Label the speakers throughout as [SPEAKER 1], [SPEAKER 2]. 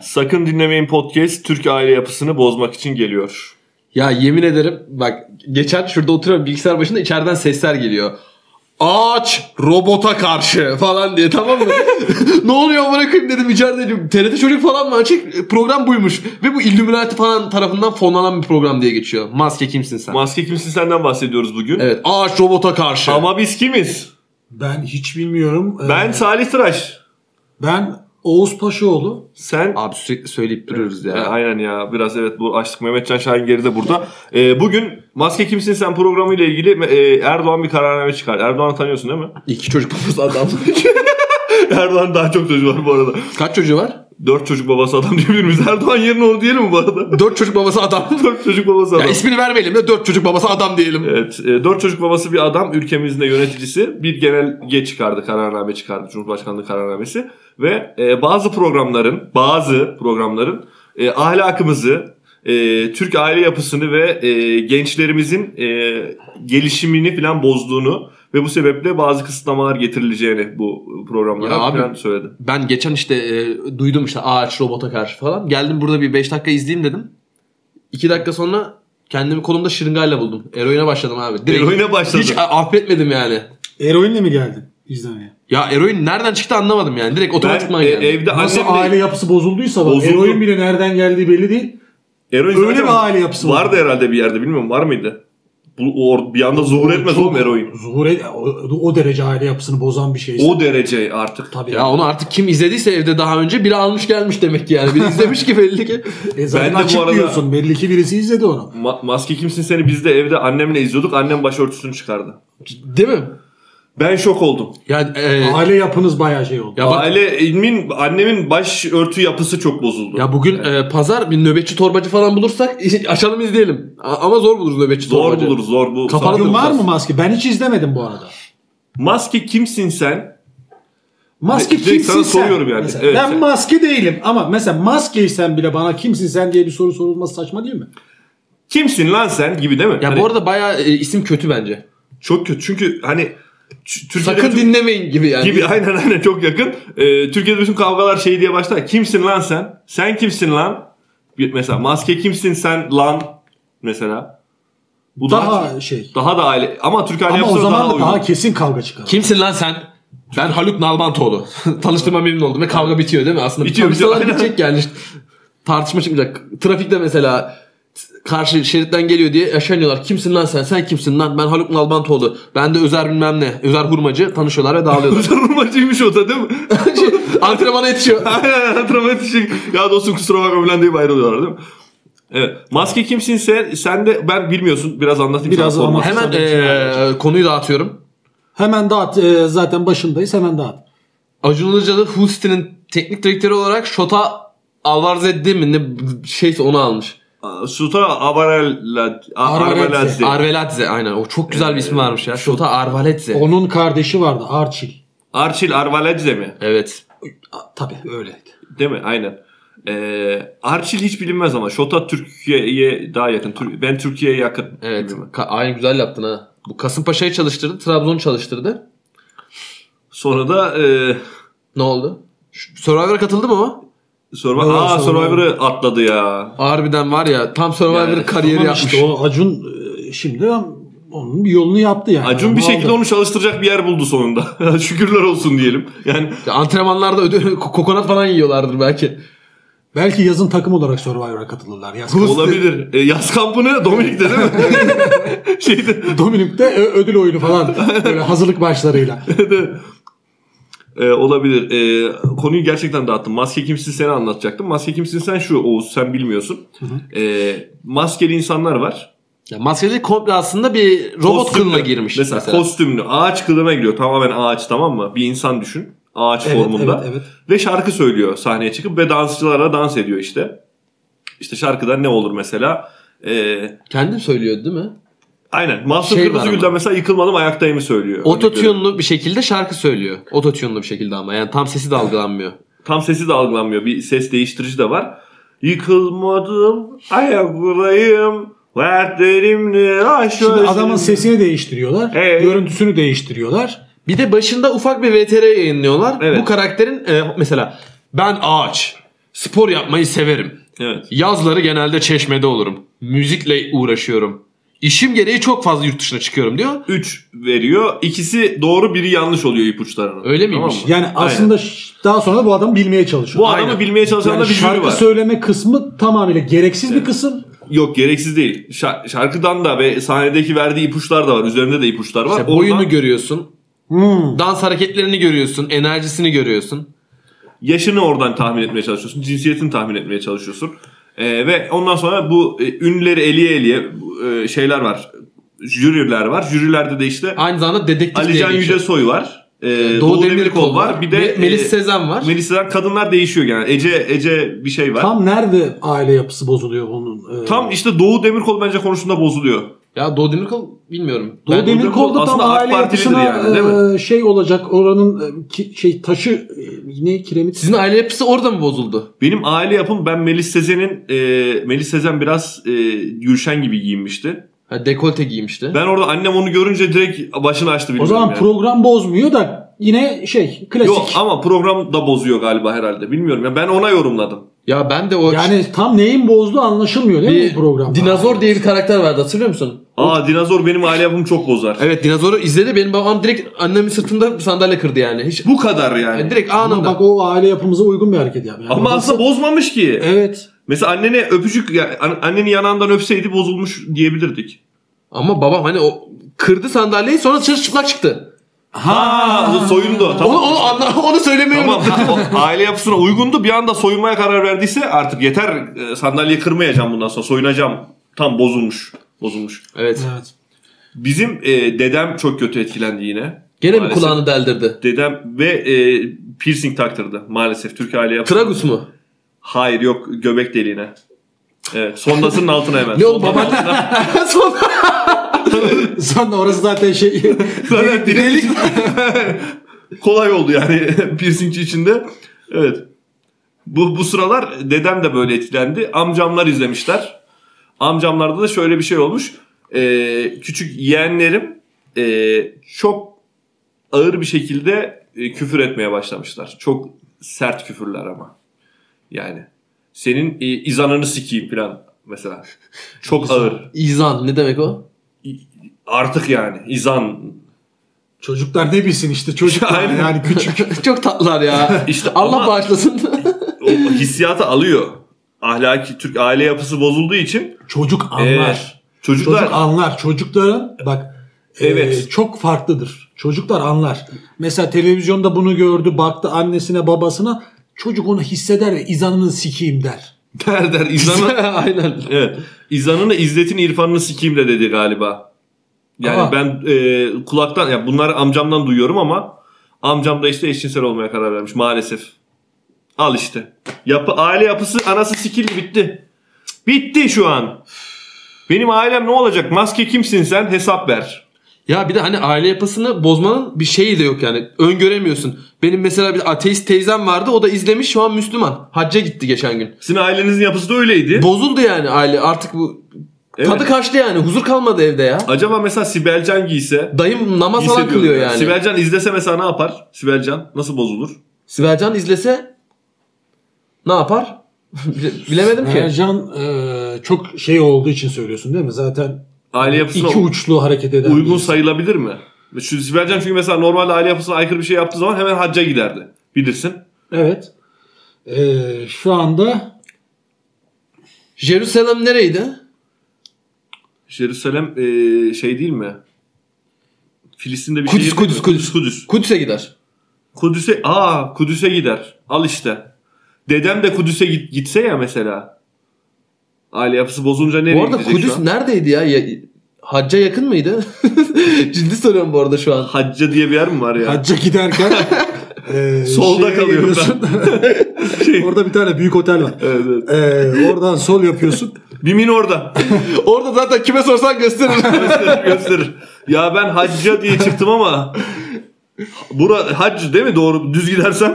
[SPEAKER 1] Sakın dinlemeyin podcast Türk aile yapısını bozmak için geliyor.
[SPEAKER 2] Ya yemin ederim bak geçen şurada oturuyorum bilgisayar başında içeriden sesler geliyor. Ağaç robota karşı falan diye tamam mı? ne oluyor bırakayım dedim içeride. dedim, TRT çocuk falan mı açık? Program buymuş. Ve bu Illuminati falan tarafından fonlanan bir program diye geçiyor. Maske kimsin sen?
[SPEAKER 1] Maske kimsin senden bahsediyoruz bugün.
[SPEAKER 2] evet ağaç robota karşı.
[SPEAKER 1] Ama biz kimiz?
[SPEAKER 3] Ben hiç bilmiyorum. Ee,
[SPEAKER 1] Ben Salih Tıraş.
[SPEAKER 3] ben Oğuz Paşaoğlu.
[SPEAKER 1] Sen
[SPEAKER 2] Abi sürekli söyleyip duruyoruz
[SPEAKER 1] E,
[SPEAKER 2] ya.
[SPEAKER 1] Aynen ya biraz evet bu açtık Mehmetcan Şahin geride burada. E, bugün Maske Kimsin Sen programıyla ilgili e, Erdoğan bir kararname çıkar. Erdoğan'ı tanıyorsun değil mi?
[SPEAKER 2] İki çocuk babası adam.
[SPEAKER 1] Erdoğan daha çok çocuğu var bu arada.
[SPEAKER 2] Kaç çocuğu var?
[SPEAKER 1] Dört çocuk babası adam diyebilir miyiz? Erdoğan yerine onu diyelim mi bu arada?
[SPEAKER 2] Dört çocuk babası adam.
[SPEAKER 1] Dört çocuk babası
[SPEAKER 2] ya
[SPEAKER 1] adam.
[SPEAKER 2] ismini vermeyelim de dört çocuk babası adam diyelim.
[SPEAKER 1] Evet. e, dört çocuk babası bir adam ülkemizin de yöneticisi bir genelge çıkardı. Kararname çıkardı. Cumhurbaşkanlığı kararnamesi. Ve e, bazı programların bazı programların e, ahlakımızı e, Türk aile yapısını ve e, gençlerimizin e, gelişimini falan bozduğunu ve bu sebeple bazı kısıtlamalar getirileceğini bu programlara
[SPEAKER 2] Ya abi,
[SPEAKER 1] falan söyledi.
[SPEAKER 2] Ben geçen işte e, duydum işte ağaç robota karşı falan. Geldim burada bir 5 dakika izleyeyim dedim. 2 dakika sonra kendimi kolumda şırıngayla buldum. Eroine başladım abi. Direkt
[SPEAKER 1] Eroine E, başladı.
[SPEAKER 2] Hiç a- affetmedim yani.
[SPEAKER 3] Eroinle mi geldin izlemeye?
[SPEAKER 2] Ya eroin nereden çıktı anlamadım yani. Direkt
[SPEAKER 1] Ben
[SPEAKER 2] otomatikman
[SPEAKER 1] e,
[SPEAKER 2] geldi.
[SPEAKER 1] evde
[SPEAKER 3] Nasıl
[SPEAKER 1] annemle...
[SPEAKER 3] aile yapısı bozulduysa bak
[SPEAKER 1] Bozuldu.
[SPEAKER 3] eroin bile nereden geldiği belli değil.
[SPEAKER 1] Eroin
[SPEAKER 3] Öyle
[SPEAKER 1] zaten
[SPEAKER 3] bir aile yapısı var.
[SPEAKER 1] Vardı herhalde bir yerde bilmiyorum var mıydı? Bu, o- bir anda zuhur etmez
[SPEAKER 3] Çok-
[SPEAKER 1] oğlum eroin.
[SPEAKER 3] Zuhur et- o, o derece aile yapısını bozan bir şey.
[SPEAKER 1] O derece artık.
[SPEAKER 3] Tabii.
[SPEAKER 2] Ya onu artık kim izlediyse evde daha önce biri almış gelmiş demek ki yani. Biri izlemiş ki belli ki.
[SPEAKER 3] E zaten
[SPEAKER 1] ben de bu
[SPEAKER 3] açık
[SPEAKER 1] arada-
[SPEAKER 3] diyorsun. Belli ki birisi izledi onu.
[SPEAKER 1] Ma- maske kimsin seni biz de evde annemle izliyorduk. Annem başörtüsünü çıkardı.
[SPEAKER 2] Değil mi?
[SPEAKER 1] Ben şok oldum.
[SPEAKER 2] Yani e,
[SPEAKER 3] Aile yapınız bayağı şey oldu.
[SPEAKER 2] ya bak
[SPEAKER 1] Ailemin, annemin başörtü yapısı çok bozuldu.
[SPEAKER 2] Ya bugün e, pazar bir nöbetçi torbacı falan bulursak açalım izleyelim. A- ama zor buluruz nöbetçi
[SPEAKER 1] zor
[SPEAKER 2] torbacı.
[SPEAKER 1] buluruz zor bu.
[SPEAKER 2] Kapalı
[SPEAKER 1] Sağ-
[SPEAKER 3] Bugün var
[SPEAKER 2] bulacağız.
[SPEAKER 3] mı maske? Ben hiç izlemedim bu arada.
[SPEAKER 1] Maske kimsin sen?
[SPEAKER 3] Maske
[SPEAKER 1] Direkt
[SPEAKER 3] kimsin
[SPEAKER 1] sana
[SPEAKER 3] sen?
[SPEAKER 1] soruyorum yani.
[SPEAKER 3] Mesela,
[SPEAKER 1] Evet,
[SPEAKER 3] ben
[SPEAKER 1] sen-
[SPEAKER 3] maske değilim ama mesela maskeysen bile bana kimsin sen diye bir soru sorulması saçma değil mi?
[SPEAKER 1] Kimsin lan sen gibi değil mi?
[SPEAKER 2] Ya
[SPEAKER 1] Hani
[SPEAKER 2] bu arada bayağı e, isim kötü bence.
[SPEAKER 1] çok kötü. Çünkü hani ç- Türkiye'de
[SPEAKER 2] Sakın
[SPEAKER 1] bütün-
[SPEAKER 2] dinlemeyin gibi yani.
[SPEAKER 1] gibi aynen aynen çok yakın. Ee, Türkiye'de bütün kavgalar şey diye başlar. Kimsin lan sen? Sen kimsin lan? Bir- Mesela maske kimsin sen lan mesela. Bu daha
[SPEAKER 3] Daha şey.
[SPEAKER 1] daha da aile ama Türk aile
[SPEAKER 3] Ama o
[SPEAKER 1] yapısına
[SPEAKER 3] zaman
[SPEAKER 1] daha
[SPEAKER 3] da
[SPEAKER 1] uygun.
[SPEAKER 3] daha kesin kavga çıkar.
[SPEAKER 2] Kimsin lan sen? Ben Haluk Nalbantoğlu. Tanıştırma memnun oldum ve kavga bitiyor değil mi? Aslında
[SPEAKER 1] Bitiyor,
[SPEAKER 2] tanışsalar
[SPEAKER 1] bitiyor, aynen.
[SPEAKER 2] bitecek yani. İşte Tartışma çıkmayacak. Trafikte mesela t- karşı şeritten geliyor diye yaşanıyorlar. Kimsin lan sen? Sen kimsin lan? Ben Haluk Nalbantoğlu. Ben de Özer bilmem ne. Özer Hurmacı. Tanışıyorlar ve dağılıyorlar.
[SPEAKER 1] Sarılmacıymış o da değil mi?
[SPEAKER 2] Şey, Antrenmana yetişiyor.
[SPEAKER 1] Aynen antrenman için. Ya dostum kusura bakma falan deyip ayrılıyorlar değil mi? Evet. Maske kimsin sen, sen de ben bilmiyorsun. Biraz anlatayım.
[SPEAKER 3] Biraz
[SPEAKER 1] sana sonra.
[SPEAKER 3] ama-
[SPEAKER 2] Hemen eee, konuyu dağıtıyorum.
[SPEAKER 3] Hemen dağıt. e, zaten başındayız hemen dağıt.
[SPEAKER 2] Acun Ilıcalı Houston'ın teknik direktörü olarak Şota Alvarez'de mi ne şeyse onu almış.
[SPEAKER 1] Aa, Suta Avarella Arveladze.
[SPEAKER 2] Arveladze aynen o çok güzel bir ismi varmış ya. Şota Arvaletze.
[SPEAKER 3] Onun kardeşi vardı Arçil.
[SPEAKER 1] Arçil Arveladze mi?
[SPEAKER 2] Evet.
[SPEAKER 3] A- Tabii öyleydi.
[SPEAKER 1] Değil mi? Aynen. Ee, Arçil hiç bilinmez ama Şota Türkiye'ye daha yakın. Tür- Ben Türkiye'ye yakın.
[SPEAKER 2] Evet.
[SPEAKER 1] gibiyim.
[SPEAKER 2] Ka- aynen güzel yaptın ha. Bu Kasımpaşa'yı çalıştırdı, Trabzon'u çalıştırdı.
[SPEAKER 1] Sonra da e,
[SPEAKER 2] Ne oldu? Ş- Survivor'a katıldı mı o?
[SPEAKER 1] Survivor,
[SPEAKER 3] Vallahi
[SPEAKER 1] Aa,
[SPEAKER 3] Survivor.
[SPEAKER 1] Survivor'ı atladı ya.
[SPEAKER 2] Harbiden var ya tam Survivor
[SPEAKER 1] Yani,
[SPEAKER 2] kariyeri
[SPEAKER 3] Ama
[SPEAKER 2] yapmış.
[SPEAKER 3] işte o Acun e, şimdi onun bir yolunu yaptı yani.
[SPEAKER 1] Acun bir
[SPEAKER 3] Onu
[SPEAKER 1] şekilde
[SPEAKER 3] aldı.
[SPEAKER 1] onu çalıştıracak bir yer buldu sonunda. Şükürler olsun diyelim. Yani
[SPEAKER 2] Ya Antrenmanlarda ödü- ko- kokonat falan yiyorlardır belki.
[SPEAKER 3] Belki yazın takım olarak Survivor'a katılırlar. Yaz
[SPEAKER 2] Bu-
[SPEAKER 1] olabilir. E, yaz kampını Dominik'te değil mi? Şeyde.
[SPEAKER 3] Dominik'te ö- ödül oyunu falan böyle hazırlık maçlarıyla.
[SPEAKER 1] E, olabilir. E, konuyu gerçekten dağıttım. Maske kimsin seni anlatacaktım. Maske kimsin sen şu Oğuz sen bilmiyorsun. E, maskeli insanlar var.
[SPEAKER 2] Ya maskeli komple aslında bir robot
[SPEAKER 1] Kostümlü.
[SPEAKER 2] kılığına girmiş.
[SPEAKER 1] Mesela, kostümlü ağaç kılığına giriyor. Tamamen ağaç tamam mı? Bir insan düşün. Ağaç
[SPEAKER 3] Evet,
[SPEAKER 1] formunda.
[SPEAKER 3] evet, evet.
[SPEAKER 1] Ve şarkı söylüyor sahneye çıkıp ve dansçılara dans ediyor işte. İşte şarkıda ne olur mesela? Ee,
[SPEAKER 2] Kendi söylüyor değil mi?
[SPEAKER 1] aynen. Mahsun
[SPEAKER 2] Şey var
[SPEAKER 1] Kırmızıgül'den
[SPEAKER 2] ama.
[SPEAKER 1] mesela yıkılmadım ayaktayımı söylüyor.
[SPEAKER 2] Ototune'lu bir şekilde şarkı söylüyor. Ototune'lu bir şekilde ama yani tam sesi de algılanmıyor.
[SPEAKER 1] Tam sesi de algılanmıyor. Bir ses değiştirici de var. Yıkılmadım ayak buradayım. Dertlerimle
[SPEAKER 3] Şimdi adamın sesini değiştiriyorlar.
[SPEAKER 1] Evet.
[SPEAKER 3] Görüntüsünü değiştiriyorlar.
[SPEAKER 2] Bir de başında ufak bir VTR yayınlıyorlar.
[SPEAKER 1] Evet.
[SPEAKER 2] Bu karakterin e, mesela ben ağaç, Spor yapmayı severim.
[SPEAKER 1] Evet.
[SPEAKER 2] Yazları genelde çeşmede olurum. Müzikle uğraşıyorum. İşim gereği çok fazla yurt dışına çıkıyorum diyor.
[SPEAKER 1] 3 veriyor. İkisi doğru biri yanlış oluyor ipuçlarına.
[SPEAKER 2] Öyle miymiş?
[SPEAKER 1] mı?
[SPEAKER 3] Yani aslında ş- daha sonra da bu adamı bilmeye çalışıyor.
[SPEAKER 1] Bu adamı
[SPEAKER 2] Aynen.
[SPEAKER 1] bilmeye çalışan
[SPEAKER 3] Yani
[SPEAKER 1] da bir jüri
[SPEAKER 3] şarkı
[SPEAKER 1] var.
[SPEAKER 3] söyleme kısmı tamamıyla gereksiz bir kısım.
[SPEAKER 1] Yok gereksiz değil. Şa- şarkıdan da ve sahnedeki verdiği ipuçlar da var. Üzerinde de ipuçlar var.
[SPEAKER 2] İşte boyunu
[SPEAKER 1] Ondan
[SPEAKER 2] görüyorsun.
[SPEAKER 3] Hmm.
[SPEAKER 2] Dans hareketlerini görüyorsun. Enerjisini görüyorsun.
[SPEAKER 1] yaşını oradan tahmin etmeye çalışıyorsun. Cinsiyetini tahmin etmeye çalışıyorsun. Ee, ve ondan sonra bu e, ünlüleri eliye eliye bu, e, şeyler var. Jüriler var. Jürilerde de işte
[SPEAKER 2] Aynı zamanda dedektif diye
[SPEAKER 1] Alican
[SPEAKER 2] geçiyor.
[SPEAKER 1] Yücesoy var. e,
[SPEAKER 2] Doğu, Demirkol var.
[SPEAKER 1] Bir de
[SPEAKER 2] Me- Melis
[SPEAKER 1] e,
[SPEAKER 2] Sezen var.
[SPEAKER 1] Melisa'dan kadınlar değişiyor yani. Ece Ece bir şey var. Tam,
[SPEAKER 3] Tam nerede aile yapısı bozuluyor bunun? Ee,
[SPEAKER 1] işte Doğu Demirkol bence konusunda bozuluyor.
[SPEAKER 2] ya Doğu Demirkol bilmiyorum.
[SPEAKER 3] Doğu
[SPEAKER 1] Ben-
[SPEAKER 3] Demirkol da tam
[SPEAKER 1] Aslında AK
[SPEAKER 3] aile
[SPEAKER 1] Partilidir
[SPEAKER 3] yapısına
[SPEAKER 1] yani, değil mi?
[SPEAKER 3] e, şey olacak oranın e, ki- şey taşı e, ne kiremit
[SPEAKER 2] Sizin aile yapısı orada mı bozuldu?
[SPEAKER 1] Benim aile yapım ben Melis Sezen'in e, Melis Sezen biraz e, Gülşen gibi giyinmişti.
[SPEAKER 2] Ha, dekolte giymişti.
[SPEAKER 1] Ben orada annem onu görünce direkt başını açtı
[SPEAKER 3] O
[SPEAKER 1] bilmiyorum
[SPEAKER 3] zaman
[SPEAKER 1] yani.
[SPEAKER 3] program bozmuyor da yine şey klasik.
[SPEAKER 1] Yok ama program da bozuyor galiba herhalde. Bilmiyorum ya ben ona yorumladım.
[SPEAKER 2] Ya ben de o
[SPEAKER 3] yani tam neyin bozdu anlaşılmıyor değil mi
[SPEAKER 2] bir
[SPEAKER 3] bu programda?
[SPEAKER 2] dinozor diye bir karakter vardı hatırlıyor musun?
[SPEAKER 1] Aa dinozor benim aile yapımı çok bozar.
[SPEAKER 2] Evet dinozoru izledi benim babam direkt annemin sırtında sandalye kırdı yani. Hiç
[SPEAKER 1] Bu kadar yani.
[SPEAKER 2] direkt
[SPEAKER 3] Ama
[SPEAKER 2] anında.
[SPEAKER 3] bak o aile yapımıza uygun bir hareket yapıyor.
[SPEAKER 1] Ama aslında bozmamış ki.
[SPEAKER 3] evet.
[SPEAKER 1] Mesela annene öpücük ya an- anneni yanağından öpseydi bozulmuş diyebilirdik.
[SPEAKER 2] Ama babam hani o kırdı sandalyeyi sonra dışarı çıplak çıktı.
[SPEAKER 1] Ha soyundu. Tamam.
[SPEAKER 2] Onu onu anla, onu söylemeyi
[SPEAKER 1] Tamam
[SPEAKER 2] unuttum.
[SPEAKER 1] ha, o aile yapısına uygundu. Bir anda soyunmaya karar verdiyse artık yeter e, sandalyeyi kırmayacağım bundan sonra soyunacağım. Tam bozulmuş. Bozulmuş.
[SPEAKER 2] Evet.
[SPEAKER 3] Evet.
[SPEAKER 1] Bizim e, dedem çok kötü etkilendi yine.
[SPEAKER 2] Gene mi
[SPEAKER 1] Maalesef.
[SPEAKER 2] kulağını deldirdi?
[SPEAKER 1] Dedem ve e, piercing taktırdı maalesef Türk aile yapısı.
[SPEAKER 2] Tragus mu?
[SPEAKER 1] Hayır yok göbek deliğine. Evet sondasının altına hemen.
[SPEAKER 2] Ne oğlum
[SPEAKER 1] Sondasının
[SPEAKER 2] baban?
[SPEAKER 1] altına.
[SPEAKER 2] Sonra-
[SPEAKER 3] Sonra orası zaten şey
[SPEAKER 1] Zaten delik. Kolay oldu yani piercingçi içinde. Evet. Bu, bu sıralar dedem de böyle etkilendi. Amcamlar izlemişler. Amcamlarda da şöyle bir şey olmuş. Ee, küçük yeğenlerim ee, çok ağır bir şekilde e, küfür etmeye başlamışlar. Çok sert küfürler ama. Yani senin e, izanını sikeyim falan mesela. Çok ağır.
[SPEAKER 2] İzan ne demek o?
[SPEAKER 1] Artık yani izan
[SPEAKER 3] çocuklar ne bilsin işte çocuklar
[SPEAKER 1] Aynen.
[SPEAKER 3] yani küçük.
[SPEAKER 2] Çok tatlılar ya.
[SPEAKER 1] İşte
[SPEAKER 2] Allah
[SPEAKER 1] ama-
[SPEAKER 2] bağışlasın.
[SPEAKER 1] o hissiyatı alıyor. Ahlaki Türk aile yapısı bozulduğu için
[SPEAKER 3] Çocuk anlar.
[SPEAKER 1] e, çocuklar
[SPEAKER 3] Çocuk anlar. Çocukların bak e,
[SPEAKER 1] Evet.
[SPEAKER 3] çok farklıdır. Çocuklar anlar. Mesela televizyonda bunu gördü, baktı annesine, babasına. Çocuk onu hisseder ve izanını sikeyim der.
[SPEAKER 1] der der izanı
[SPEAKER 2] Aynen.
[SPEAKER 1] evet, izanını izzetin irfanını sikeyim de dedi galiba. Yani
[SPEAKER 3] Ama-
[SPEAKER 1] ben e, kulaktan ya bunları amcamdan duyuyorum ama amcam da işte eşcinsel olmaya karar vermiş maalesef. Al işte. Yapı aile yapısı anası sikildi bitti. Bitti şu an. Benim ailem ne olacak? Maske kimsin sen? Hesap ver.
[SPEAKER 2] Ya bir de hani aile yapısını bozmanın bir şeyi de yok yani. Öngöremiyorsun. Benim mesela bir ateist teyzem vardı. O da izlemiş şu an Müslüman. Hacca gitti geçen gün.
[SPEAKER 1] Sizin ailenizin yapısı da öyleydi.
[SPEAKER 2] Bozuldu yani aile. Artık bu
[SPEAKER 1] Evet.
[SPEAKER 2] tadı kaçtı yani. Huzur kalmadı evde ya.
[SPEAKER 1] Acaba mesela Sibelcan giyse
[SPEAKER 2] Dayım namaz
[SPEAKER 1] Giyse
[SPEAKER 2] falan
[SPEAKER 1] diyorum
[SPEAKER 2] kılıyor yani.
[SPEAKER 1] Sibelcan izlese mesela ne yapar? Sibelcan nasıl bozulur?
[SPEAKER 2] Sibelcan izlese ne yapar? Bile- Bilemedim ki.
[SPEAKER 3] Ercan e, çok şey olduğu için söylüyorsun değil mi? Zaten
[SPEAKER 1] Aile yapısına
[SPEAKER 3] iki uçlu hareket eden.
[SPEAKER 1] uygun
[SPEAKER 3] birisi.
[SPEAKER 1] sayılabilir mi? Şu Sibelcan çünkü mesela normalde aile yapısına aykırı bir şey yaptığı zaman hemen hacca giderdi. Bilirsin.
[SPEAKER 3] Evet. Ee, şu anda
[SPEAKER 2] Jerusalem nereydi?
[SPEAKER 1] Jerusalem eee, şey değil mi? Filistin'de bir
[SPEAKER 2] Kudüs,
[SPEAKER 1] şehir değil
[SPEAKER 2] Kudüs,
[SPEAKER 1] mi?
[SPEAKER 2] Kudüs.
[SPEAKER 1] Kudüs.
[SPEAKER 2] Kudüs'e gider.
[SPEAKER 1] Kudüs'e aa Kudüs'e gider. Al işte. Dedem de Kudüs'e git, gitse ya mesela. Aile yapısı bozulunca nereye
[SPEAKER 2] bu arada
[SPEAKER 1] gidecek şu
[SPEAKER 2] Kudüs
[SPEAKER 1] an?
[SPEAKER 2] neredeydi ya? ya? Hacca yakın mıydı? Ciddi soruyorum bu arada şu an.
[SPEAKER 1] Hacca diye bir yer mi var ya?
[SPEAKER 3] hacca giderken e,
[SPEAKER 1] Solda
[SPEAKER 3] şeye
[SPEAKER 1] kalıyorum
[SPEAKER 3] gidiyorsun.
[SPEAKER 1] Şey,
[SPEAKER 3] Orada bir tane büyük otel var.
[SPEAKER 1] evet, evet.
[SPEAKER 3] Ee, oradan sol yapıyorsun.
[SPEAKER 1] Bimin orada.
[SPEAKER 2] Orada zaten kime sorsan gösterir.
[SPEAKER 1] gösterir gösterir. Ya ben hacca diye çıktım ama Bura hac değil mi doğru düz gidersen?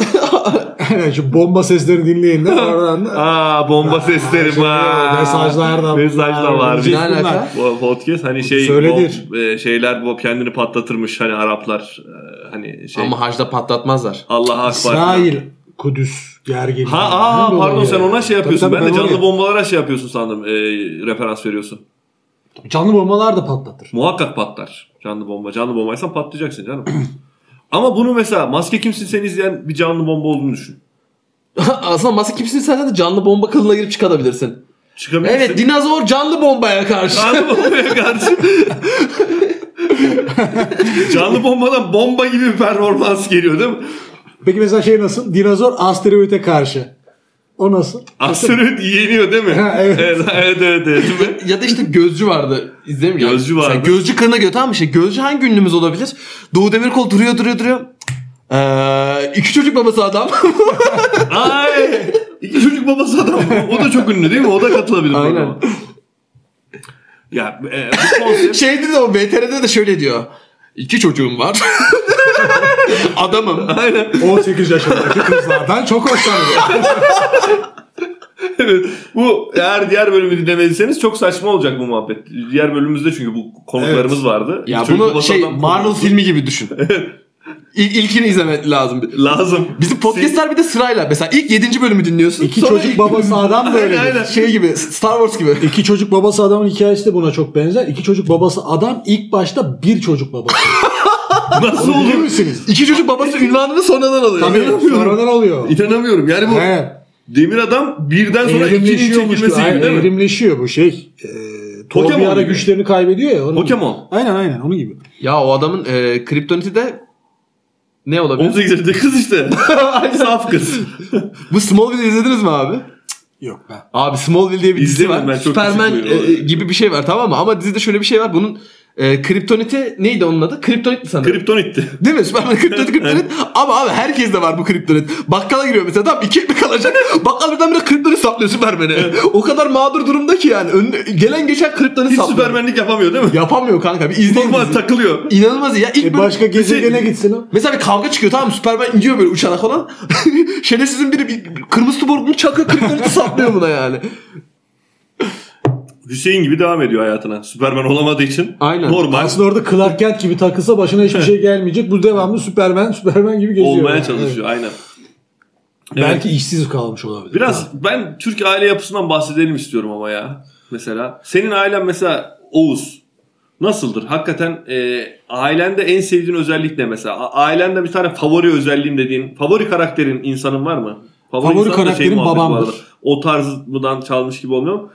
[SPEAKER 3] Aynen şu bomba sesleri dinleyin de oradan da.
[SPEAKER 1] Aa bomba sesleri
[SPEAKER 3] Şimdi
[SPEAKER 1] ha.
[SPEAKER 3] Mesajlar da
[SPEAKER 1] Mesaj da var.
[SPEAKER 2] Ne
[SPEAKER 1] Biz-
[SPEAKER 2] alaka?
[SPEAKER 3] bunlar.
[SPEAKER 1] Bu podcast hani şey
[SPEAKER 3] Söyledir.
[SPEAKER 1] bu, e, şeyler bu kendini patlatırmış hani Araplar e, hani şey
[SPEAKER 2] Ama hacda patlatmazlar.
[SPEAKER 1] Allah akbar.
[SPEAKER 3] İsrail Kudüs Gergin.
[SPEAKER 1] Ha aa
[SPEAKER 3] Bilmiyorum
[SPEAKER 1] pardon
[SPEAKER 3] ya.
[SPEAKER 1] sen ona şey
[SPEAKER 3] Tabii,
[SPEAKER 1] yapıyorsun.
[SPEAKER 3] tabii,
[SPEAKER 1] ben de
[SPEAKER 3] oraya-
[SPEAKER 1] canlı bombalara şey yapıyorsun sandım. E, referans veriyorsun.
[SPEAKER 3] Canlı bombalar da patlatır.
[SPEAKER 1] Muhakkak patlar. Canlı bomba. Canlı bombaysan patlayacaksın canım. Ama bunu mesela maske kimsin seni izleyen bir canlı bomba olduğunu düşün.
[SPEAKER 2] Aslında masa kimsin sen de canlı bomba kılına girip çıkabilirsin.
[SPEAKER 1] Çıkabilirsin.
[SPEAKER 2] Evet dinozor canlı bombaya karşı.
[SPEAKER 1] Canlı bombaya karşı. Canlı bombadan bomba gibi bir performans geliyor değil mi?
[SPEAKER 3] Peki mesela şey nasıl? Dinozor asteroide karşı. O nasıl?
[SPEAKER 1] Asteroid yeniyor değil mi?
[SPEAKER 3] Ha, evet.
[SPEAKER 1] evet. Evet evet evet. Değil mi?
[SPEAKER 2] ya da işte gözcü vardı. İzlemiyor.
[SPEAKER 1] Gözcü vardı.
[SPEAKER 2] Mesela gözcü kılına götü ama şey gözcü hangi ünlümüz olabilir? Doğu Demirkol duruyor duruyor duruyor. Ee, iki çocuk babası adam.
[SPEAKER 1] Ay! İki çocuk babası adam. O da çok ünlü değil mi? O da katılabilir.
[SPEAKER 2] Aynen.
[SPEAKER 1] programa. Ya e, bu konsept
[SPEAKER 2] Şeydi de Şey o BTR'de de şöyle diyor. İki çocuğum var. Adamım.
[SPEAKER 1] Aynen.
[SPEAKER 3] 18 yaşındaki kızlardan çok hoşlanıyor.
[SPEAKER 1] Evet. Bu eğer diğer bölümü dinlemediyseniz çok saçma olacak bu muhabbet. Diğer bölümümüzde çünkü bu konuklarımız vardı.
[SPEAKER 2] Ya
[SPEAKER 1] İki çocuk
[SPEAKER 2] bunu
[SPEAKER 1] babası
[SPEAKER 2] şey
[SPEAKER 1] adam
[SPEAKER 2] Marvel
[SPEAKER 1] konusu.
[SPEAKER 2] filmi gibi düşün. İlk, ilkini izlemek lazım.
[SPEAKER 1] lazım.
[SPEAKER 2] Bizim podcastler bir de sırayla. Mesela ilk 7. bölümü dinliyorsun.
[SPEAKER 3] İki
[SPEAKER 2] sonra
[SPEAKER 3] çocuk babası adam böyle.
[SPEAKER 1] Aynen, aynen.
[SPEAKER 2] şey gibi Star Wars gibi.
[SPEAKER 3] İki çocuk babası adamın hikayesi de buna çok benzer. İki çocuk babası adam ilk başta bir çocuk babası.
[SPEAKER 1] nasıl
[SPEAKER 3] Bilir
[SPEAKER 1] olur?
[SPEAKER 3] misiniz?
[SPEAKER 2] İki çocuk babası ünvanını sonradan alıyor.
[SPEAKER 3] Tabii sonradan oluyor.
[SPEAKER 1] İnanamıyorum. Yani bu
[SPEAKER 3] He.
[SPEAKER 1] Demir Adam birden sonra ikinin
[SPEAKER 3] Evrimleşiyormuş.
[SPEAKER 1] çekilmesi
[SPEAKER 3] gibi.
[SPEAKER 1] gibi değil mi?
[SPEAKER 3] Evrimleşiyor bu şey. Ee, Thor
[SPEAKER 1] Pokemon
[SPEAKER 3] bir ara
[SPEAKER 1] gibi.
[SPEAKER 3] güçlerini kaybediyor ya. Onun gibi.
[SPEAKER 1] Pokemon.
[SPEAKER 3] Aynen aynen onun gibi.
[SPEAKER 2] Ya o adamın e, kriptoniti de ne olabilir?
[SPEAKER 1] 18 yaşında kız işte. Saf kız.
[SPEAKER 2] Bu Smallville izlediniz mi abi?
[SPEAKER 3] Yok be.
[SPEAKER 2] Abi Smallville diye bir dizi
[SPEAKER 1] İzlemedim
[SPEAKER 2] var.
[SPEAKER 1] ben, çok
[SPEAKER 2] Superman
[SPEAKER 1] küçük bir-
[SPEAKER 2] e, gibi bir şey var tamam mı? Ama dizide şöyle bir şey var. Bunun e, kriptoniti neydi onun adı? Kriptonit mi sanırım?
[SPEAKER 1] Kriptonitti.
[SPEAKER 2] Değil mi? Süperman kriptonit kriptonit. Ama abi herkes de var bu kriptonit. Bakkala giriyor mesela tam iki ekmek kalacak. Bakkal birden bire kriptonit saplıyor Süpermen'e. o kadar mağdur durumda ki yani. Ön- gelen geçen kriptonit
[SPEAKER 1] Hiç
[SPEAKER 2] saplıyor.
[SPEAKER 1] süpermenlik yapamıyor değil mi?
[SPEAKER 2] Yapamıyor kanka. Bir izleyin
[SPEAKER 1] Normal
[SPEAKER 2] bizi.
[SPEAKER 1] takılıyor.
[SPEAKER 2] İnanılmaz ya. İlk
[SPEAKER 3] E
[SPEAKER 2] bölüm-
[SPEAKER 3] başka gezegene gitsin o.
[SPEAKER 2] Mesela bir kavga çıkıyor tamam mı? Süpermen iniyor böyle uçarak falan. Şerefsizin biri bir kırmızı tuborgunu çakıyor kriptoniti saplıyor buna yani.
[SPEAKER 1] Hüseyin gibi devam ediyor hayatına. Süpermen olamadığı için.
[SPEAKER 2] Aynen.
[SPEAKER 1] Normal.
[SPEAKER 3] Aslında orada Clark Kent gibi takılsa başına hiçbir şey gelmeyecek. Bu devamlı Superman, Superman gibi geziyor.
[SPEAKER 1] Olmaya
[SPEAKER 3] Yani.
[SPEAKER 1] çalışıyor. Aynen.
[SPEAKER 3] Evet.
[SPEAKER 1] Evet.
[SPEAKER 3] Belki işsiz kalmış olabilir.
[SPEAKER 1] Biraz ben Türk aile yapısından bahsedelim istiyorum ama ya. Mesela senin ailen mesela Oğuz nasıldır? Hakikaten e, ailende en sevdiğin özellik ne mesela? A- Ailende bir tane favori özelliğim dediğin, favori karakterin insanın var mı?
[SPEAKER 3] Favori
[SPEAKER 1] insanın da şey
[SPEAKER 3] karakterim
[SPEAKER 1] muhabbeti
[SPEAKER 3] babamdır.
[SPEAKER 1] vardı. O tarzından çalmış gibi olmuyor mu?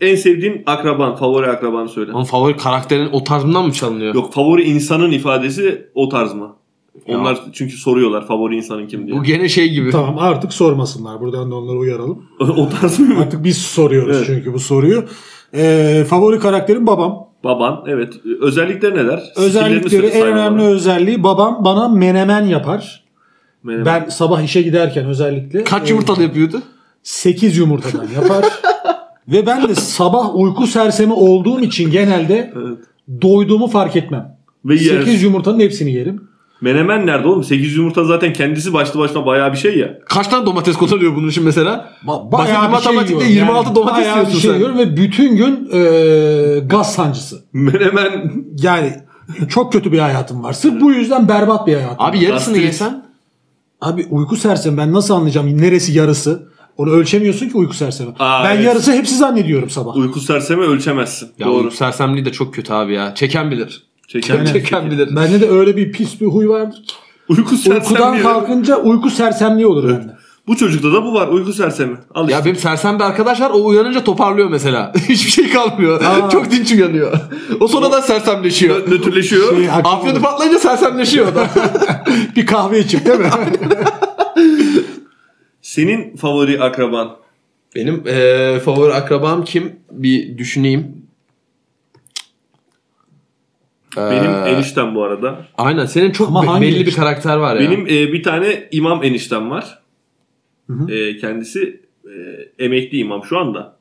[SPEAKER 1] En sevdiğin akraban, favori akrabanı söyle.
[SPEAKER 2] Onun favori karakterin o tarzından mı çalınıyor?
[SPEAKER 1] Yok favori insanın ifadesi o tarz mı?
[SPEAKER 2] Ya.
[SPEAKER 1] Onlar çünkü soruyorlar favori insanın kim diye.
[SPEAKER 2] Bu gene şey gibi.
[SPEAKER 3] Tamam artık sormasınlar. Buradan da onları uyaralım.
[SPEAKER 1] o tarz mı?
[SPEAKER 3] Artık biz soruyoruz
[SPEAKER 1] Evet.
[SPEAKER 3] çünkü bu soruyu. Ee, favori karakterim babam.
[SPEAKER 1] Baban evet. Özellikleri neler?
[SPEAKER 3] Özellikleri
[SPEAKER 1] Skillerini
[SPEAKER 3] en
[SPEAKER 1] say bana.
[SPEAKER 3] önemli özelliği babam bana menemen yapar.
[SPEAKER 1] Menemen.
[SPEAKER 3] Ben sabah işe giderken özellikle e,
[SPEAKER 2] Kaç yumurtalı yapıyordu?
[SPEAKER 3] 8 yumurtadan yapar. Ve ben de sabah uyku sersemi olduğum için genelde
[SPEAKER 1] Evet.
[SPEAKER 3] doyduğumu fark etmem.
[SPEAKER 1] Ve yer.
[SPEAKER 3] 8 yumurtanın hepsini yerim.
[SPEAKER 1] Menemen nerede oğlum? 8 yumurta zaten kendisi başlı başına bayağı bir şey ya.
[SPEAKER 2] Kaç tane domates kullanıyor bunun için mesela?
[SPEAKER 3] Ba- şey
[SPEAKER 2] Basit bir matematikte
[SPEAKER 3] yiyorum.
[SPEAKER 2] 26 domates
[SPEAKER 3] bayağı
[SPEAKER 2] yiyorsun
[SPEAKER 3] bir şey
[SPEAKER 2] sen.
[SPEAKER 3] yiyorum ve bütün gün e, gaz sancısı.
[SPEAKER 1] Menemen
[SPEAKER 3] Yani çok kötü bir hayatım var. Sırf bu yüzden berbat bir hayatım. Abi,
[SPEAKER 2] Abi yarısını
[SPEAKER 1] Gastrit.
[SPEAKER 2] yesen.
[SPEAKER 3] Abi uyku sersemi ben nasıl anlayacağım neresi yarısı? Onu ölçemiyorsun ki uyku sersemi.
[SPEAKER 1] Aa,
[SPEAKER 3] ben
[SPEAKER 1] evet.
[SPEAKER 3] yarısı hepsi zannediyorum sabah.
[SPEAKER 1] uyku serseme ölçemezsin.
[SPEAKER 2] Ya
[SPEAKER 1] Doğru.
[SPEAKER 2] Doğru. sersemliği de çok kötü abi ya. Çeken bilir.
[SPEAKER 1] Çeken
[SPEAKER 2] Çeken bilir.
[SPEAKER 3] Bende de öyle bir pis bir huy vardır ki.
[SPEAKER 1] Uyku
[SPEAKER 3] Uykudan
[SPEAKER 1] sersemi.
[SPEAKER 3] kalkınca uyku sersemliği olur bende.
[SPEAKER 1] Bu çocukta da bu var. Uyku sersemi. Al
[SPEAKER 2] Ya
[SPEAKER 1] işte.
[SPEAKER 2] benim sersem bir arkadaş var o uyanınca toparlıyor mesela. Hiçbir şey kalmıyor.
[SPEAKER 3] Aa.
[SPEAKER 2] Çok dinç uyanıyor. O sonradan sersemleşiyor.
[SPEAKER 1] Nö- Nötrleşiyor.
[SPEAKER 3] Şey, aklıma-
[SPEAKER 2] Afyonu patlayınca sersemleşiyor o da.
[SPEAKER 3] bir kahve içip değil mi?
[SPEAKER 1] Senin favori akraban.
[SPEAKER 2] Benim eee, favori akrabam kim? Bir düşüneyim.
[SPEAKER 1] Benim
[SPEAKER 2] Eee,
[SPEAKER 1] eniştem bu arada.
[SPEAKER 2] Aynen senin çok
[SPEAKER 3] Ama
[SPEAKER 2] be-
[SPEAKER 3] hangi
[SPEAKER 2] belli bir
[SPEAKER 3] işte?
[SPEAKER 2] karakter var ya.
[SPEAKER 1] Benim e, bir tane imam eniştem var.
[SPEAKER 3] hı.
[SPEAKER 1] E, kendisi e, emekli imam şu anda.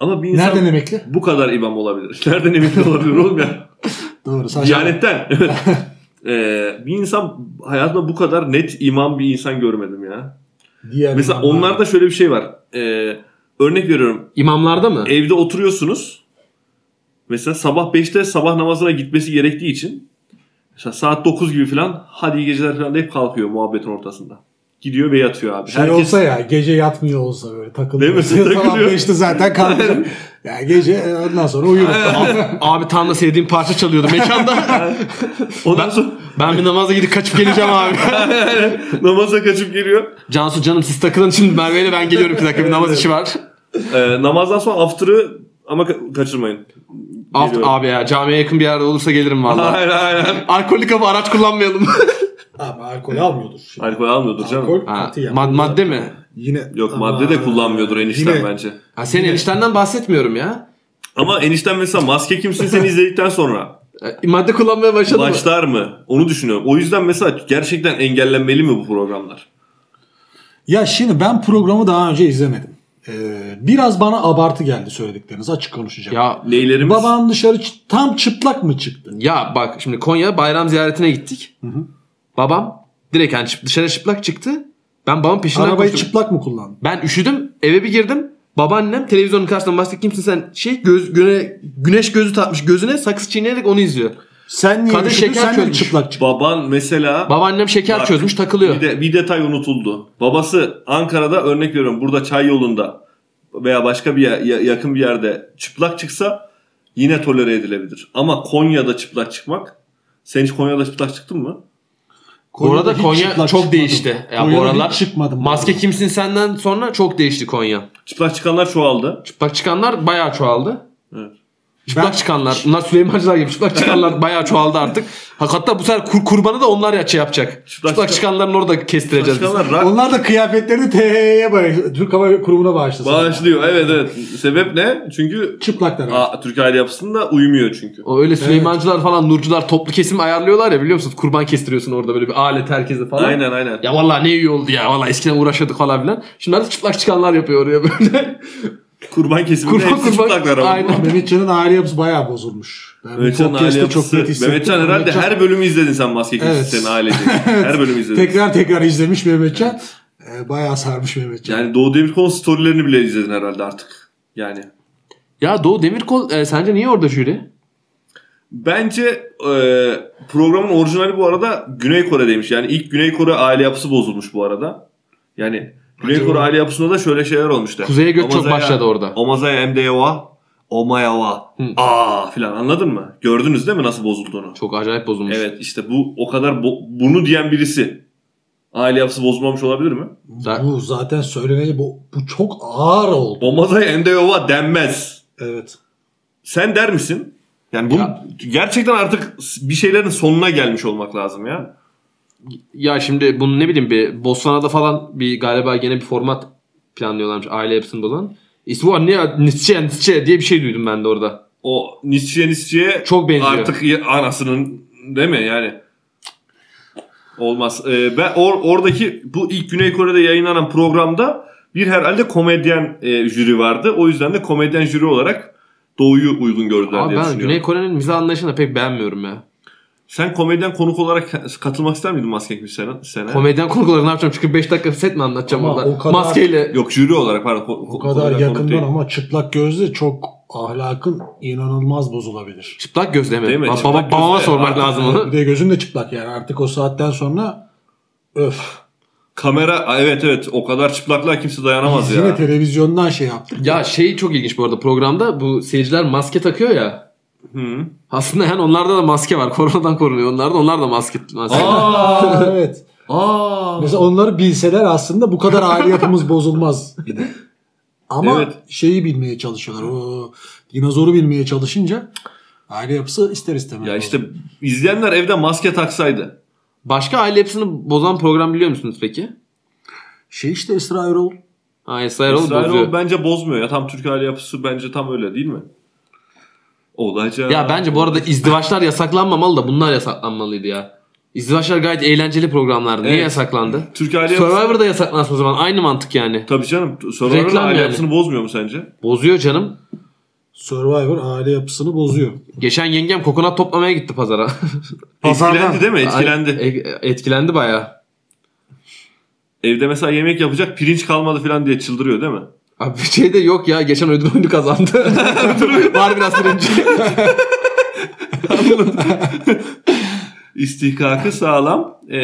[SPEAKER 1] Ama bir insan
[SPEAKER 3] Nereden emekli?
[SPEAKER 1] bu kadar imam olabilir. Nereden emekli olabilir oğlum ya?
[SPEAKER 3] Doğru. saçma.
[SPEAKER 1] Diyanetten. Ee, bir insan hayatımda bu kadar net iman bir insan görmedim ya.
[SPEAKER 3] Diğer
[SPEAKER 1] Mesela
[SPEAKER 3] insanlar-
[SPEAKER 1] onlarda şöyle bir şey var. Ee, örnek veriyorum.
[SPEAKER 2] İmamlarda mı?
[SPEAKER 1] Evde oturuyorsunuz. Mesela sabah 5'te sabah namazına gitmesi gerektiği için mesela saat 9 gibi falan hadi iyi geceler falan deyip kalkıyor muhabbetin ortasında. gidiyor ve yatıyor abi.
[SPEAKER 3] Şey olsa ya gece yatmıyor olsa böyle takılıyor.
[SPEAKER 1] Değil mi? Takılıyor.
[SPEAKER 3] Sabah işte zaten kalkacağım. ya gece e, ondan sonra uyurum.
[SPEAKER 2] abi tam da sevdiğim parça çalıyordu mekanda.
[SPEAKER 1] Ondan sonra
[SPEAKER 2] ben bir namaza gidip kaçıp geleceğim abi.
[SPEAKER 1] namaza kaçıp geliyor.
[SPEAKER 2] Cansu canım siz takılın şimdi Merve ile ben geliyorum bir dakika bir namaz işi var.
[SPEAKER 1] Ee, namazdan sonra after'ı ama ka- kaçırmayın.
[SPEAKER 2] Aft
[SPEAKER 1] Geliyorum.
[SPEAKER 2] abi ya camiye yakın bir yerde olursa gelirim valla.
[SPEAKER 1] Aynen aynen.
[SPEAKER 2] Alkolik ama araç kullanmayalım.
[SPEAKER 3] Ama alkol almıyordur. Şimdi.
[SPEAKER 1] Alkol almıyordur canım.
[SPEAKER 3] Alkol
[SPEAKER 2] Ha,
[SPEAKER 3] katiyen.
[SPEAKER 2] mad- madde mi?
[SPEAKER 3] Yine
[SPEAKER 1] Yok
[SPEAKER 3] Ama-
[SPEAKER 1] madde de kullanmıyordur enişten
[SPEAKER 3] Yine-
[SPEAKER 1] bence.
[SPEAKER 2] Ha, senin eniştenden bahsetmiyorum ya.
[SPEAKER 1] Ama enişten mesela maske kimsin seni izledikten sonra
[SPEAKER 2] E, Madde kullanmaya başladı mı?
[SPEAKER 1] başlar mı? Onu düşünüyorum. O yüzden mesela gerçekten engellenmeli mi bu programlar?
[SPEAKER 3] Ya şimdi ben programı daha önce izlemedim. Ee, biraz bana abartı geldi söyledikleriniz açık konuşacağım.
[SPEAKER 2] Ya
[SPEAKER 1] Neylerimiz?
[SPEAKER 3] Baban dışarı çı- tam çıplak mı çıktı?
[SPEAKER 2] Ya bak şimdi Konya bayram ziyaretine gittik. Babam direkt yani çıp- dışarı çıplak çıktı. Ben babamın peşinden
[SPEAKER 3] Arabayı
[SPEAKER 2] koştum.
[SPEAKER 3] çıplak mı kullandın?
[SPEAKER 2] ben üşüdüm eve bir girdim. Babaannem televizyonun karşısında başta kimsin sen şey göz güne, güneş gözü takmış gözüne saksı çiğneyerek onu izliyor.
[SPEAKER 3] Sen niye
[SPEAKER 2] Kadın
[SPEAKER 3] üşüdün?
[SPEAKER 2] şeker
[SPEAKER 3] Sen de
[SPEAKER 2] çözmüş.
[SPEAKER 3] çıplak çıktın?
[SPEAKER 1] Baban mesela
[SPEAKER 2] Babaannem şeker
[SPEAKER 1] Bak,
[SPEAKER 2] çözmüş takılıyor.
[SPEAKER 1] Bir, de, bir detay unutuldu. Babası Ankara'da örnek veriyorum burada çay yolunda veya başka bir yer- ya- yakın bir yerde çıplak çıksa yine tolere edilebilir. Ama Konya'da çıplak çıkmak sen hiç Konya'da çıplak çıktın mı?
[SPEAKER 2] bu arada
[SPEAKER 3] hiç
[SPEAKER 2] Konya
[SPEAKER 3] çıplak
[SPEAKER 2] çok
[SPEAKER 3] çıkmadım.
[SPEAKER 2] değişti. Ya bu
[SPEAKER 3] Konya'da
[SPEAKER 2] aralar
[SPEAKER 3] hiç çıkmadım.
[SPEAKER 2] maske kimsin senden sonra çok değişti Konya.
[SPEAKER 1] Çıplak çıkanlar çoğaldı.
[SPEAKER 2] Çıplak çıkanlar bayağı çoğaldı.
[SPEAKER 1] Evet.
[SPEAKER 2] Çıplak
[SPEAKER 3] Ben-
[SPEAKER 2] çıkanlar. Bunlar Süleymancılar gibi çıplak çıkanlar bayağı çoğaldı artık. Ha, Hatta bu sefer kur, kurbanı da onlar ya şey yapacak. Çıplak,
[SPEAKER 1] Çıplak çıkan-
[SPEAKER 2] çıkanların orada
[SPEAKER 1] Çıplak
[SPEAKER 2] kestireceğiz. biz.
[SPEAKER 1] çıkanlar rak
[SPEAKER 3] Onlar da kıyafetlerini THY'ye bağışladı. Türk Hava Kurumu'na bağışladı.
[SPEAKER 1] bağışlıyor. Evet evet. Sebep ne? Çünkü
[SPEAKER 3] Çıplaklar. abi.
[SPEAKER 1] Aa, Türk aile yapısında uymuyor çünkü.
[SPEAKER 2] O öyle Süleymancılar falan Nurcular toplu kesim ayarlıyorlar ya biliyor musunuz? Kurban kestiriyorsun orada böyle bir alet herkese falan.
[SPEAKER 1] Aynen aynen.
[SPEAKER 2] Ya vallahi ne iyi oldu ya. Vallahi eskiden uğraşıyorduk falan filan. Şimdi artık çıplak çıkanlar yapıyor oraya böyle.
[SPEAKER 1] Kurban kesiminde
[SPEAKER 2] Kurban-
[SPEAKER 1] hepsi
[SPEAKER 2] kurban-
[SPEAKER 1] çıplaklar ama.
[SPEAKER 2] Aynen.
[SPEAKER 3] Mehmetcan'ın aile yapısı bayağı bozulmuş. Ben bu
[SPEAKER 1] Mehmetcan aile
[SPEAKER 3] podcast'te
[SPEAKER 1] yapısı.
[SPEAKER 3] net hissettim.
[SPEAKER 1] Mehmetcan herhalde
[SPEAKER 3] Mehmetcan-
[SPEAKER 1] her bölümü izledin sen maske kimsin
[SPEAKER 3] Evet.
[SPEAKER 1] senin ailece. Her bölümü izledin.
[SPEAKER 3] Tekrar tekrar izlemiş Mehmetcan. Ee, bayağı sarmış Mehmetcan.
[SPEAKER 1] Yani Doğu Demirkol'un storylerini bile izledin herhalde artık. Yani
[SPEAKER 2] ya Doğu Demirkol e, sence niye orada jüri?
[SPEAKER 1] bence e, programın orijinali bu arada Güney Kore'deymiş. Yani ilk Güney Kore aile yapısı bozulmuş bu arada. Yani Güney
[SPEAKER 3] Acaba-
[SPEAKER 1] Kore aile yapısında da şöyle şeyler olmuştu.
[SPEAKER 2] Kuzey'e göç çok başladı orada.
[SPEAKER 1] Omazaya Mdewa, Omayawa,
[SPEAKER 2] Hı.
[SPEAKER 1] aa filan anladın mı? Gördünüz değil mi nasıl bozulduğunu?
[SPEAKER 2] Çok acayip bozulmuş.
[SPEAKER 1] Evet işte bu o kadar bo- bunu diyen birisi aile yapısı bozulmamış olabilir mi?
[SPEAKER 2] Sen-
[SPEAKER 3] Bu zaten söyleneli bu, bu çok ağır oldu.
[SPEAKER 1] Omazaya Mdewa denmez.
[SPEAKER 3] Evet.
[SPEAKER 1] Sen der misin? Yani bunu
[SPEAKER 2] Ya.
[SPEAKER 1] gerçekten artık bir şeylerin sonuna gelmiş olmak lazım ya.
[SPEAKER 2] Ya şimdi bunu ne bileyim bir Bosna'da falan bir galiba gene bir format planlıyorlarmış aile yapısında olan. İsmi anne Nietzsche Nietzsche diye bir şey duydum ben de orada.
[SPEAKER 1] O Nietzsche'ye Nietzsche'ye
[SPEAKER 2] Çok benziyor.
[SPEAKER 1] artık ya- anasının değil mi yani? Olmaz. Ee, ben or- oradaki bu ilk Güney Kore'de yayınlanan programda bir herhalde komedyen e, jüri vardı. O yüzden de komedyen jüri olarak Doğu'yu uygun gördüler
[SPEAKER 2] Abi
[SPEAKER 1] diye
[SPEAKER 2] ben
[SPEAKER 1] düşünüyorum.
[SPEAKER 2] Güney Kore'nin mizah anlayışını da pek beğenmiyorum ya.
[SPEAKER 1] Sen komedyen konuk olarak ka- katılmak ister miydin Maske Ekmiş sene? sene?
[SPEAKER 2] Komedyen konukları ne yapacağım? Çünkü 5 dakika set mi anlatacağım
[SPEAKER 3] Ama
[SPEAKER 2] orada?
[SPEAKER 3] o kadar-
[SPEAKER 2] Maskeyle.
[SPEAKER 1] Yok jüri olarak pardon. ko-
[SPEAKER 3] O
[SPEAKER 1] ko-
[SPEAKER 3] kadar
[SPEAKER 1] komedyen konuk
[SPEAKER 3] yakından
[SPEAKER 1] değil.
[SPEAKER 3] ama çıplak gözle çok ahlakın inanılmaz bozulabilir.
[SPEAKER 2] Çıplak gözle mi?
[SPEAKER 1] Değil mi?
[SPEAKER 2] Ba-
[SPEAKER 1] Çıplak
[SPEAKER 2] baba-
[SPEAKER 1] gözle.
[SPEAKER 2] babama sormak
[SPEAKER 1] Artık-
[SPEAKER 2] lazım
[SPEAKER 3] Bir
[SPEAKER 2] onu.
[SPEAKER 3] de gözün de çıplak yani artık o saatten sonra öf.
[SPEAKER 1] Kamera Aa, evet evet o kadar çıplaklığa kimse dayanamaz
[SPEAKER 3] Biz
[SPEAKER 1] ya.
[SPEAKER 3] yine televizyondan şey yaptık.
[SPEAKER 2] Ya şey çok ilginç bu arada programda bu seyirciler maske takıyor ya.
[SPEAKER 1] Hı.
[SPEAKER 2] Aslında yani onlarda da maske var. Koronadan korunuyor onlarda. Onlar da maske. maske.
[SPEAKER 1] Aa,
[SPEAKER 3] evet.
[SPEAKER 1] aa.
[SPEAKER 3] Mesela onları bilseler aslında bu kadar aile yapımız bozulmaz bir de. Ama
[SPEAKER 1] Evet.
[SPEAKER 3] şeyi bilmeye çalışıyorlar. O dinozoru bilmeye çalışınca aile yapısı ister istemez.
[SPEAKER 1] Ya işte izleyenler evde maske taksaydı.
[SPEAKER 2] Başka aile hepsini bozan program biliyor musunuz peki?
[SPEAKER 3] şey işte Esra Erol.
[SPEAKER 2] Ha Esra Erol
[SPEAKER 1] İsrail
[SPEAKER 2] bozuyor.
[SPEAKER 1] bence bozmuyor ya. Tam Türk aile yapısı bence tam öyle değil mi? Olacak.
[SPEAKER 2] Ya bence bu arada izdivaçlar yasaklanmamalı da bunlar yasaklanmalıydı ya. İzdivaçlar gayet eğlenceli programlar. Niye
[SPEAKER 1] Evet.
[SPEAKER 2] yasaklandı?
[SPEAKER 1] Türk aile yapısı...
[SPEAKER 2] Survivor'da yasaklansın o zaman. Aynı mantık yani.
[SPEAKER 1] Tabii canım. Survivor'ın
[SPEAKER 2] Reklam
[SPEAKER 1] aile
[SPEAKER 2] yani.
[SPEAKER 1] yapısını bozmuyor mu sence?
[SPEAKER 2] Bozuyor canım.
[SPEAKER 3] Survivor aile yapısını bozuyor.
[SPEAKER 2] Geçen yengem kokonat toplamaya gitti pazara.
[SPEAKER 3] Pazardan.
[SPEAKER 1] Etkilendi değil mi? Etkilendi.
[SPEAKER 2] Ay- e- etkilendi bayağı.
[SPEAKER 1] Evde mesela yemek yapacak pirinç kalmadı falan diye çıldırıyor değil mi?
[SPEAKER 2] Abi bir şey de yok ya. Geçen ödül oyunu kazandı. Var biraz birinci.
[SPEAKER 1] istihkakı sağlam. Ee,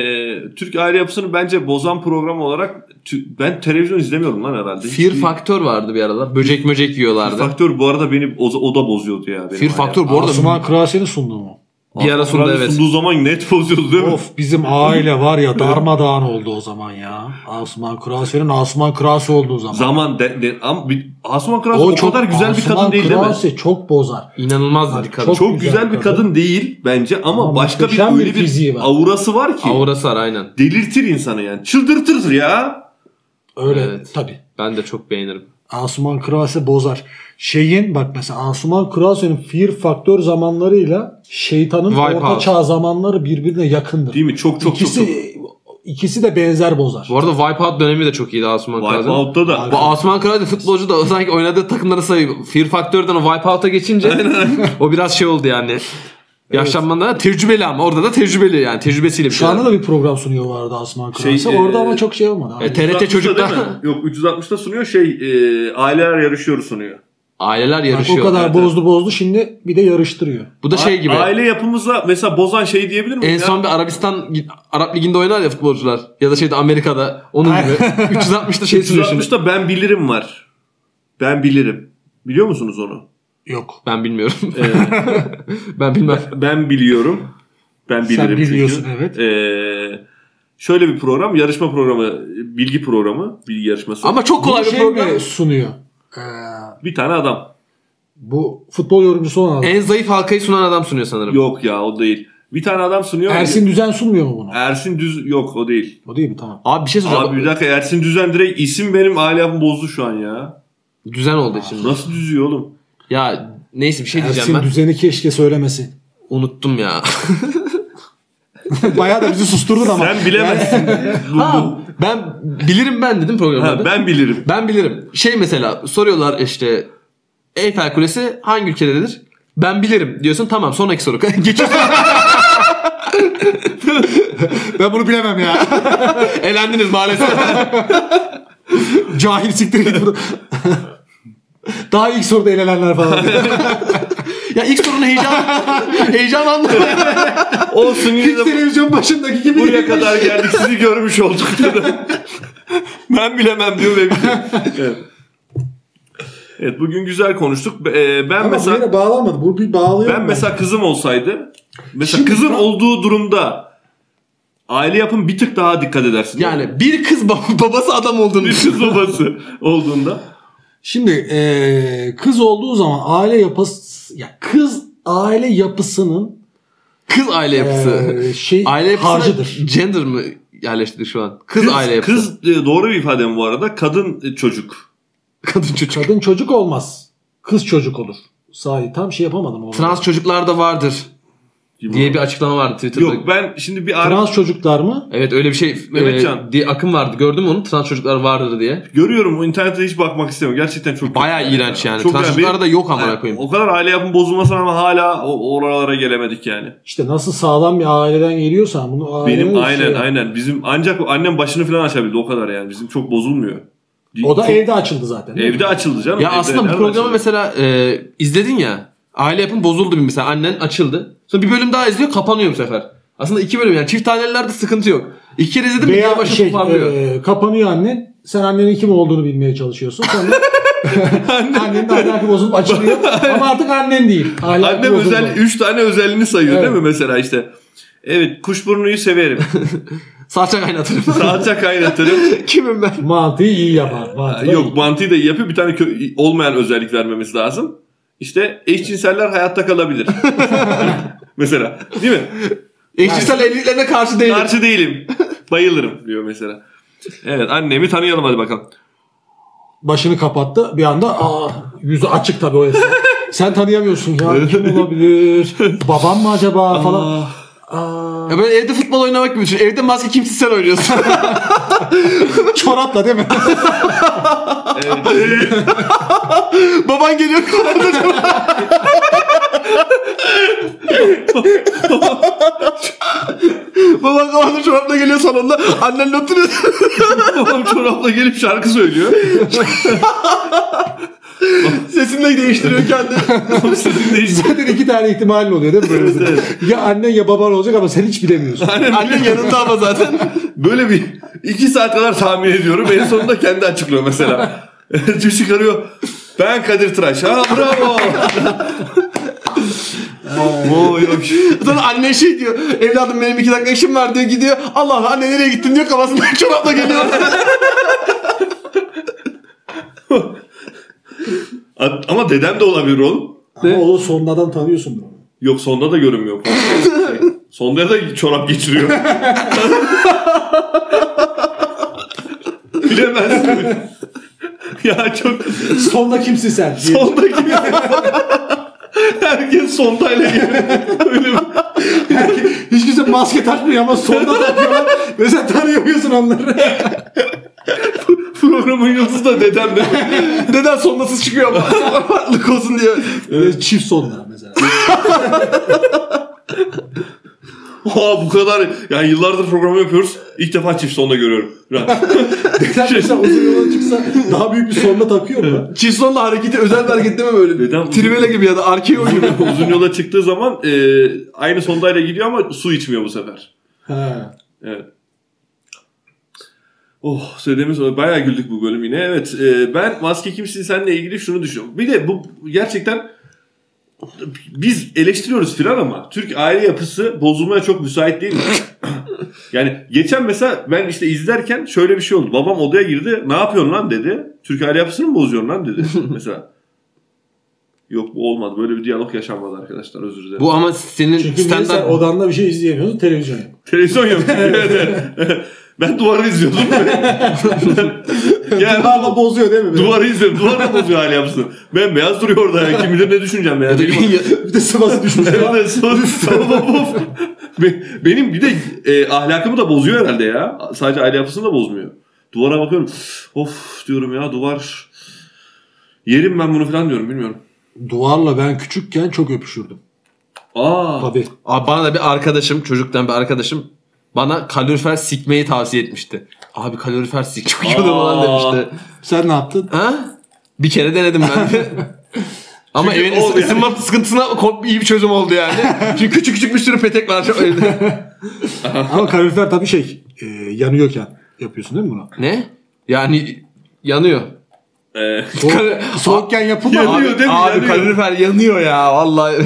[SPEAKER 1] Türk aile yapısını bence bozan program olarak tü- ben televizyon izlemiyorum lan herhalde. Hiç
[SPEAKER 2] Fear
[SPEAKER 1] değil.
[SPEAKER 2] Faktör vardı bir aralar. Böcek möcek
[SPEAKER 1] Fear
[SPEAKER 2] yiyorlardı.
[SPEAKER 1] Faktör bu arada beni o, o da bozuyordu ya. benim
[SPEAKER 2] Fear
[SPEAKER 1] hala.
[SPEAKER 2] Faktör bu arada
[SPEAKER 3] Asuman Kırasiye'nin sunduğu mu?
[SPEAKER 2] bir ara sonunda
[SPEAKER 1] Radyo
[SPEAKER 2] evet.
[SPEAKER 1] sunduğu zaman net bozuyordu değil mi?
[SPEAKER 3] Of bizim aile var ya darmadağın oldu o zaman ya. Asuman Kırasiye'nin Asuman Kırasiye olduğu zaman.
[SPEAKER 1] Zaman de, de, ama bir, Asuman Kras o, kadar güzel bir kadın
[SPEAKER 3] Asuman
[SPEAKER 1] değil değil mi?
[SPEAKER 3] Kırasiye çok bozar.
[SPEAKER 2] İnanılmazdı
[SPEAKER 3] Abi,
[SPEAKER 2] dikkat.
[SPEAKER 3] çok-
[SPEAKER 1] Çok güzel bir kadın değil bence ama,
[SPEAKER 3] Ama
[SPEAKER 1] başka bir
[SPEAKER 3] muhteşem bir
[SPEAKER 1] öyle bir
[SPEAKER 3] fiziği var.
[SPEAKER 1] aurası var ki
[SPEAKER 2] Aurası var aynen.
[SPEAKER 1] delirtir insanı yani. Çıldırtır ya.
[SPEAKER 3] Öyle
[SPEAKER 2] Evet.
[SPEAKER 3] tabii.
[SPEAKER 2] Ben de çok beğenirim.
[SPEAKER 3] Asuman Kırasiye bozar. Şeyin bak mesela Asuman Kırasiye'nin Fear Faktör zamanlarıyla şeytanın
[SPEAKER 2] Wipeout.
[SPEAKER 3] orta çağ zamanları birbirine yakındır.
[SPEAKER 1] Değil mi? Çok çok çok. çok.
[SPEAKER 3] ikisi, ikisi de benzer bozar.
[SPEAKER 2] Bu arada Wipeout dönemi de çok iyiydi Asuman Karaden'in.
[SPEAKER 1] Wipeout'ta da
[SPEAKER 2] Bu Asuman Karaden futbolcu da sanki oynadığı takımları sayıyor. Fear Faktör'den o Wipeout'a geçince o biraz şey oldu yani. Yaşlanmanın da tecrübeli ama orada da tecrübeli yani tecrübesiyle bir
[SPEAKER 3] Şu anda
[SPEAKER 2] şeyler.
[SPEAKER 3] da bir program sunuyor vardı Asuman
[SPEAKER 1] Şey,
[SPEAKER 3] Kırasiye. Orada
[SPEAKER 1] e,
[SPEAKER 3] ama çok şey olmadı.
[SPEAKER 2] E, TRT
[SPEAKER 1] 360'da
[SPEAKER 2] çocuklar.
[SPEAKER 1] değil mi? Yok 360'da sunuyor şey e, aileler yarışıyor sunuyor.
[SPEAKER 2] Aileler
[SPEAKER 3] Bak,
[SPEAKER 2] yarışıyor.
[SPEAKER 3] o kadar
[SPEAKER 1] evet,
[SPEAKER 3] bozdu bozdu şimdi bir de yarıştırıyor.
[SPEAKER 2] Bu da şey gibi.
[SPEAKER 1] A- Aile yapımızla mesela bozan şey diyebilir miyim
[SPEAKER 2] En
[SPEAKER 1] ya?
[SPEAKER 2] son bir Arabistan Arap Ligi'nde oynar ya futbolcular. Ya da şeyde Amerika'da. Onun gibi. 360'da şey sunuyor şimdi.
[SPEAKER 1] 360'da ben bilirim var. Ben bilirim. Biliyor musunuz onu?
[SPEAKER 3] Yok.
[SPEAKER 2] Ben bilmiyorum.
[SPEAKER 1] Ee,
[SPEAKER 2] ben bilmem.
[SPEAKER 1] ben biliyorum. Ben
[SPEAKER 3] Sen
[SPEAKER 1] bilirim çünkü.
[SPEAKER 3] biliyorsun, evet.
[SPEAKER 1] Ee, şöyle bir program, yarışma programı, bilgi programı, bilgi yarışması.
[SPEAKER 2] Ama çok kolay
[SPEAKER 3] Bunu
[SPEAKER 2] bir
[SPEAKER 3] şey
[SPEAKER 2] program.
[SPEAKER 3] mi sunuyor? Ee,
[SPEAKER 1] bir tane adam.
[SPEAKER 3] bu futbol yorumcusu olan adam.
[SPEAKER 2] En zayıf halkayı sunan adam sunuyor sanırım.
[SPEAKER 1] Yok ya o değil. Bir tane adam sunuyor.
[SPEAKER 3] Ersin Düzen sunmuyor mu bunu?
[SPEAKER 1] Ersin Düz yok o değil.
[SPEAKER 3] O değil mi? Tamam.
[SPEAKER 2] Abi bir şey soracağım.
[SPEAKER 1] Abi bir dakika Ersin Düzen direkt isim benim aile yapımı bozdu şu an ya.
[SPEAKER 2] Düzen oldu şimdi.
[SPEAKER 1] Nasıl düzüyor oğlum?
[SPEAKER 2] Ya neyse bir şey diyeceğim
[SPEAKER 3] Ersin
[SPEAKER 2] ben.
[SPEAKER 3] Düzen'i keşke söylemesin.
[SPEAKER 2] Unuttum ya.
[SPEAKER 3] Bayağı da bizi susturdun ama.
[SPEAKER 1] Sen bilemezsin. Bu- bu-
[SPEAKER 2] ha, ben bilirim ben dedim programda.
[SPEAKER 1] Ha,
[SPEAKER 2] ben...
[SPEAKER 1] ben bilirim.
[SPEAKER 2] bilirim. Şey mesela soruyorlar işte Eyfel Kulesi hangi ülkededir? Ben bilirim diyorsun tamam sonraki soru. Geçiyorsun.
[SPEAKER 3] Ben bunu bilemem ya.
[SPEAKER 2] Elendiniz maalesef.
[SPEAKER 3] Cahil siktir git bunu. Daha ilk soruda elenenler falan.
[SPEAKER 2] ya ilk sorunun heyecan heyecanlandım.
[SPEAKER 1] Olsun yine de
[SPEAKER 3] televizyon başındaki gibi.
[SPEAKER 1] buraya kadar geldik sizi görmüş olduk. ben bilemem diyor ve biliyor. evet. evet bugün güzel konuştuk. Ee, ben
[SPEAKER 3] Ama
[SPEAKER 1] mesela
[SPEAKER 3] bu yine bağlanmadı. Bu bir bağlıyor.
[SPEAKER 1] ben mesela kızım olsaydı mesela
[SPEAKER 3] Şimdi
[SPEAKER 1] kızın
[SPEAKER 3] ben-
[SPEAKER 1] olduğu durumda aile yapım bir tık daha dikkat edersin. değil mi?
[SPEAKER 2] yani bir kız bab- babası adam olduğunu
[SPEAKER 1] bir kız babası olduğunda
[SPEAKER 3] Şimdi eee, kız olduğu zaman aile yapısı ya kız aile yapısının
[SPEAKER 2] Kız aile yapısı.
[SPEAKER 3] eee, şey
[SPEAKER 2] aile yapısı
[SPEAKER 3] harcıdır.
[SPEAKER 2] gender mı yerleştirdik şu an? Kız, aile yapısı.
[SPEAKER 1] kız e, doğru bir ifade mi bu arada? Kadın e, çocuk.
[SPEAKER 2] kadın çocuk.
[SPEAKER 3] Kadın çocuk olmaz. Kız çocuk olur. Sahi tam şey yapamadım. onu.
[SPEAKER 2] Trans çocuklar da vardır
[SPEAKER 1] gibi.
[SPEAKER 2] diye bir açıklama vardı Twitter'da.
[SPEAKER 1] Yok ben şimdi bir ara
[SPEAKER 3] Trans çocuklar mı?
[SPEAKER 2] Evet öyle bir şey
[SPEAKER 1] Mehmetcan.
[SPEAKER 2] e, diye akım vardı. Gördün mü onu? Trans çocuklar vardır diye.
[SPEAKER 1] görüyorum o internete hiç bakmak istemiyorum. Gerçekten çok
[SPEAKER 2] Bayağı
[SPEAKER 1] kötü.
[SPEAKER 2] iğrenç yani.
[SPEAKER 1] Çok
[SPEAKER 2] Trans
[SPEAKER 1] iğrenç.
[SPEAKER 2] çocuklar da yok
[SPEAKER 1] Aynen.
[SPEAKER 2] amına koyayım.
[SPEAKER 1] O kadar aile yapım bozulmasına ama hala o, oralara gelemedik yani.
[SPEAKER 3] İşte nasıl sağlam bir aileden geliyorsan bunu şey aile
[SPEAKER 1] Benim aynen aynen bizim ancak annem başını falan açabildi o kadar yani. Bizim çok bozulmuyor.
[SPEAKER 3] O da
[SPEAKER 1] Çok-
[SPEAKER 3] evde açıldı zaten. değil mi?
[SPEAKER 1] evde açıldı canım.
[SPEAKER 2] Ya
[SPEAKER 1] Evde
[SPEAKER 2] aslında bu
[SPEAKER 1] nerede
[SPEAKER 2] programı
[SPEAKER 1] açıldı?
[SPEAKER 2] mesela e, izledin ya. Aile yapın bozuldu bir mesela. Annen açıldı. Sonra bir bölüm daha izliyor kapanıyor bu sefer. Aslında iki bölüm yani. Çift tanelerde sıkıntı yok. İki kere izledim bir
[SPEAKER 3] Veya
[SPEAKER 2] kere başı
[SPEAKER 3] şey
[SPEAKER 2] toparlıyor.
[SPEAKER 3] eee, kapanıyor annen. Sen annenin kim olduğunu bilmeye çalışıyorsun. Sonra annenin ahlakı bozulup açılıyor. Ama artık annen değil. Ahlakı
[SPEAKER 1] Annem
[SPEAKER 3] bozuldu.
[SPEAKER 1] özel 3 tane özelliğini sayıyor
[SPEAKER 3] Evet.
[SPEAKER 1] değil mi mesela işte. Evet kuşburnuyu severim.
[SPEAKER 2] Salça kaynatırım.
[SPEAKER 1] Salça kaynatırım.
[SPEAKER 2] Kimim ben?
[SPEAKER 3] Mantığı iyi yapar. Mantığı da
[SPEAKER 1] Yok mantıyı da iyi yapıyor. Bir tane kö- olmayan özellik vermemiz lazım. İşte eşcinseller hayatta kalabilir. mesela değil mi?
[SPEAKER 2] Eşcinsel evliliklerine karşı değilim.
[SPEAKER 1] Karşı değilim. Bayılırım diyor mesela. Evet annemi tanıyalım hadi bakalım.
[SPEAKER 3] başını kapattı. Bir anda aa, yüzü açık tabii o esnada. Sen tanıyamıyorsun ya kim olabilir? Babam mı acaba falan.
[SPEAKER 1] Aa,
[SPEAKER 3] Aa,
[SPEAKER 2] Ya böyle evde futbol oynamak gibi düşün. Evde maske kimsiz sen oynuyorsun.
[SPEAKER 3] çorapla değil mi?
[SPEAKER 1] evet.
[SPEAKER 2] Baban geliyor kulağında. Baban kulağında çorapla geliyor salonda. Annenle oturuyor.
[SPEAKER 1] Babam çorapla gelip şarkı söylüyor.
[SPEAKER 2] sesini değiştiriyor kendi.
[SPEAKER 1] Sesini değiştir.
[SPEAKER 3] Zaten iki tane ihtimalin oluyor değil mi? Böyle Ya annen ya baban olacak ama sen hiç bilemiyorsun.
[SPEAKER 1] Annen yanında ama zaten böyle bir iki saat kadar tahmin ediyorum. En sonunda kendi açıklıyor mesela. Cüp çıkarıyor. Ben Kadir Tıraş. Ha bravo. Oo yok.
[SPEAKER 2] Sonra anne şey diyor. Evladım benim iki dakika işim var diyor gidiyor. Allah Allah anne nereye gittin diyor kafasından çorapla geliyor.
[SPEAKER 1] A- Ama dedem de olabilir oğlum.
[SPEAKER 3] ama o sonradan tanıyorsun bunu.
[SPEAKER 1] Yok sonda da görünmüyor. sonda da çorap geçiriyor. Bilemezsin. ya çok
[SPEAKER 3] Sonda kimsin sen? diye.
[SPEAKER 1] sonda gibi. Herkes sondayla geliyor. Öyle bir-
[SPEAKER 3] Hiç kimse maske takmıyor ama sonda takıyorlar. Ve sen tanıyamıyorsun onları.
[SPEAKER 1] Programın yıldızı da dedem de.
[SPEAKER 2] Neden sondasız çıkıyor ama farklılık olsun diyor.
[SPEAKER 3] Ve Çift sonlar mesela.
[SPEAKER 1] Oha bu kadar. Yani yıllardır programı yapıyoruz. İlk defa çift sonda görüyorum.
[SPEAKER 3] Sen mesela uzun yola çıksa daha büyük bir sonda takıyor mu?
[SPEAKER 2] Çift sonda hareketi özel bir hareket değil mi böyle?
[SPEAKER 1] Neden?
[SPEAKER 2] Trivela gibi ya da arkeo gibi.
[SPEAKER 1] Uzun yola çıktığı zaman e, aynı sondayla gidiyor ama su içmiyor bu sefer.
[SPEAKER 3] Ha.
[SPEAKER 1] Evet. Oh söylediğimiz sonra bayağı güldük bu bölüm yine. Evet e, ben Maske Kimsin Sen'le ilgili şunu düşünüyorum. Bir de bu gerçekten biz eleştiriyoruz filan ama Türk aile yapısı bozulmaya çok müsait değil mi? yani geçen mesela ben işte izlerken şöyle bir şey oldu. Babam odaya girdi ne yapıyorsun lan dedi. Türk aile yapısını mı bozuyorsun lan dedi mesela. Yok bu olmadı. Böyle bir diyalog yaşanmadı arkadaşlar özür dilerim.
[SPEAKER 2] Bu ama senin
[SPEAKER 3] Çünkü niye sen odanda bir şey izleyemiyorsun televizyon yok.
[SPEAKER 1] Televizyon yok. Evet, evet. ben duvarı izliyordum. yani
[SPEAKER 3] Ama bozuyor değil mi?
[SPEAKER 1] duvarı izliyorum. Duvarı bozuyor hala yapsın. Ben beyaz duruyor orada. ya. Kim bilir ne düşüneceğim ya. Benim-
[SPEAKER 3] Bir de sıvası düşmüş.
[SPEAKER 1] Evet, so- so- of. Be- Benim bir de e, ahlakımı da bozuyor herhalde ya. Sadece aile yapısını da bozmuyor. Duvara bakıyorum. Of diyorum ya duvar. Yerim ben bunu falan diyorum bilmiyorum.
[SPEAKER 3] Duvarla ben küçükken çok öpüşürdüm.
[SPEAKER 1] Aa.
[SPEAKER 3] Tabii.
[SPEAKER 2] Abi bana da bir arkadaşım, çocuktan bir arkadaşım bana kalorifer sikmeyi tavsiye etmişti. Abi kalorifer sik çok iyi olur falan
[SPEAKER 1] Aa.
[SPEAKER 2] demişti.
[SPEAKER 3] Sen ne yaptın?
[SPEAKER 2] Ha? Bir kere denedim ben de. Ama
[SPEAKER 1] Çünkü
[SPEAKER 2] evin
[SPEAKER 1] oldu yani.
[SPEAKER 2] ısınma sıkıntısına ko- iyi bir çözüm oldu yani. Çünkü küçük küçük bir sürü petek var şu evde.
[SPEAKER 1] Ah.
[SPEAKER 3] Ama kalorifer tabii şey e, yanıyorken yapıyorsun değil mi bunu?
[SPEAKER 2] ne? Yani yanıyor.
[SPEAKER 1] E,
[SPEAKER 3] Soğuk, soğukken yapılmıyor.
[SPEAKER 1] Yanıyor
[SPEAKER 2] Abi,
[SPEAKER 1] değil mi?
[SPEAKER 2] abi
[SPEAKER 1] Yanıyor.
[SPEAKER 2] kalorifer yanıyor ya vallahi.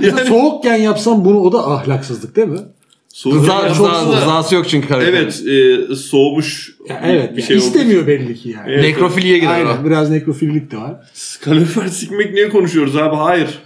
[SPEAKER 3] Mesela Soğukken yapsam bunu o da ahlaksızlık değil mi?
[SPEAKER 1] soğuk-
[SPEAKER 2] Rıza,
[SPEAKER 1] Çok
[SPEAKER 2] rıza,
[SPEAKER 1] da-
[SPEAKER 2] rızası yok çünkü kalorifer.
[SPEAKER 1] Evet e, soğumuş
[SPEAKER 3] Ya evet.
[SPEAKER 1] bir
[SPEAKER 3] yani
[SPEAKER 1] şey oldu.
[SPEAKER 3] istemiyor belli ki yani.
[SPEAKER 1] Evet.
[SPEAKER 2] Nekrofiliye girer o.
[SPEAKER 3] Aynen biraz nekrofillik de var.
[SPEAKER 1] Kalorifer sikmek niye konuşuyoruz abi? Hayır.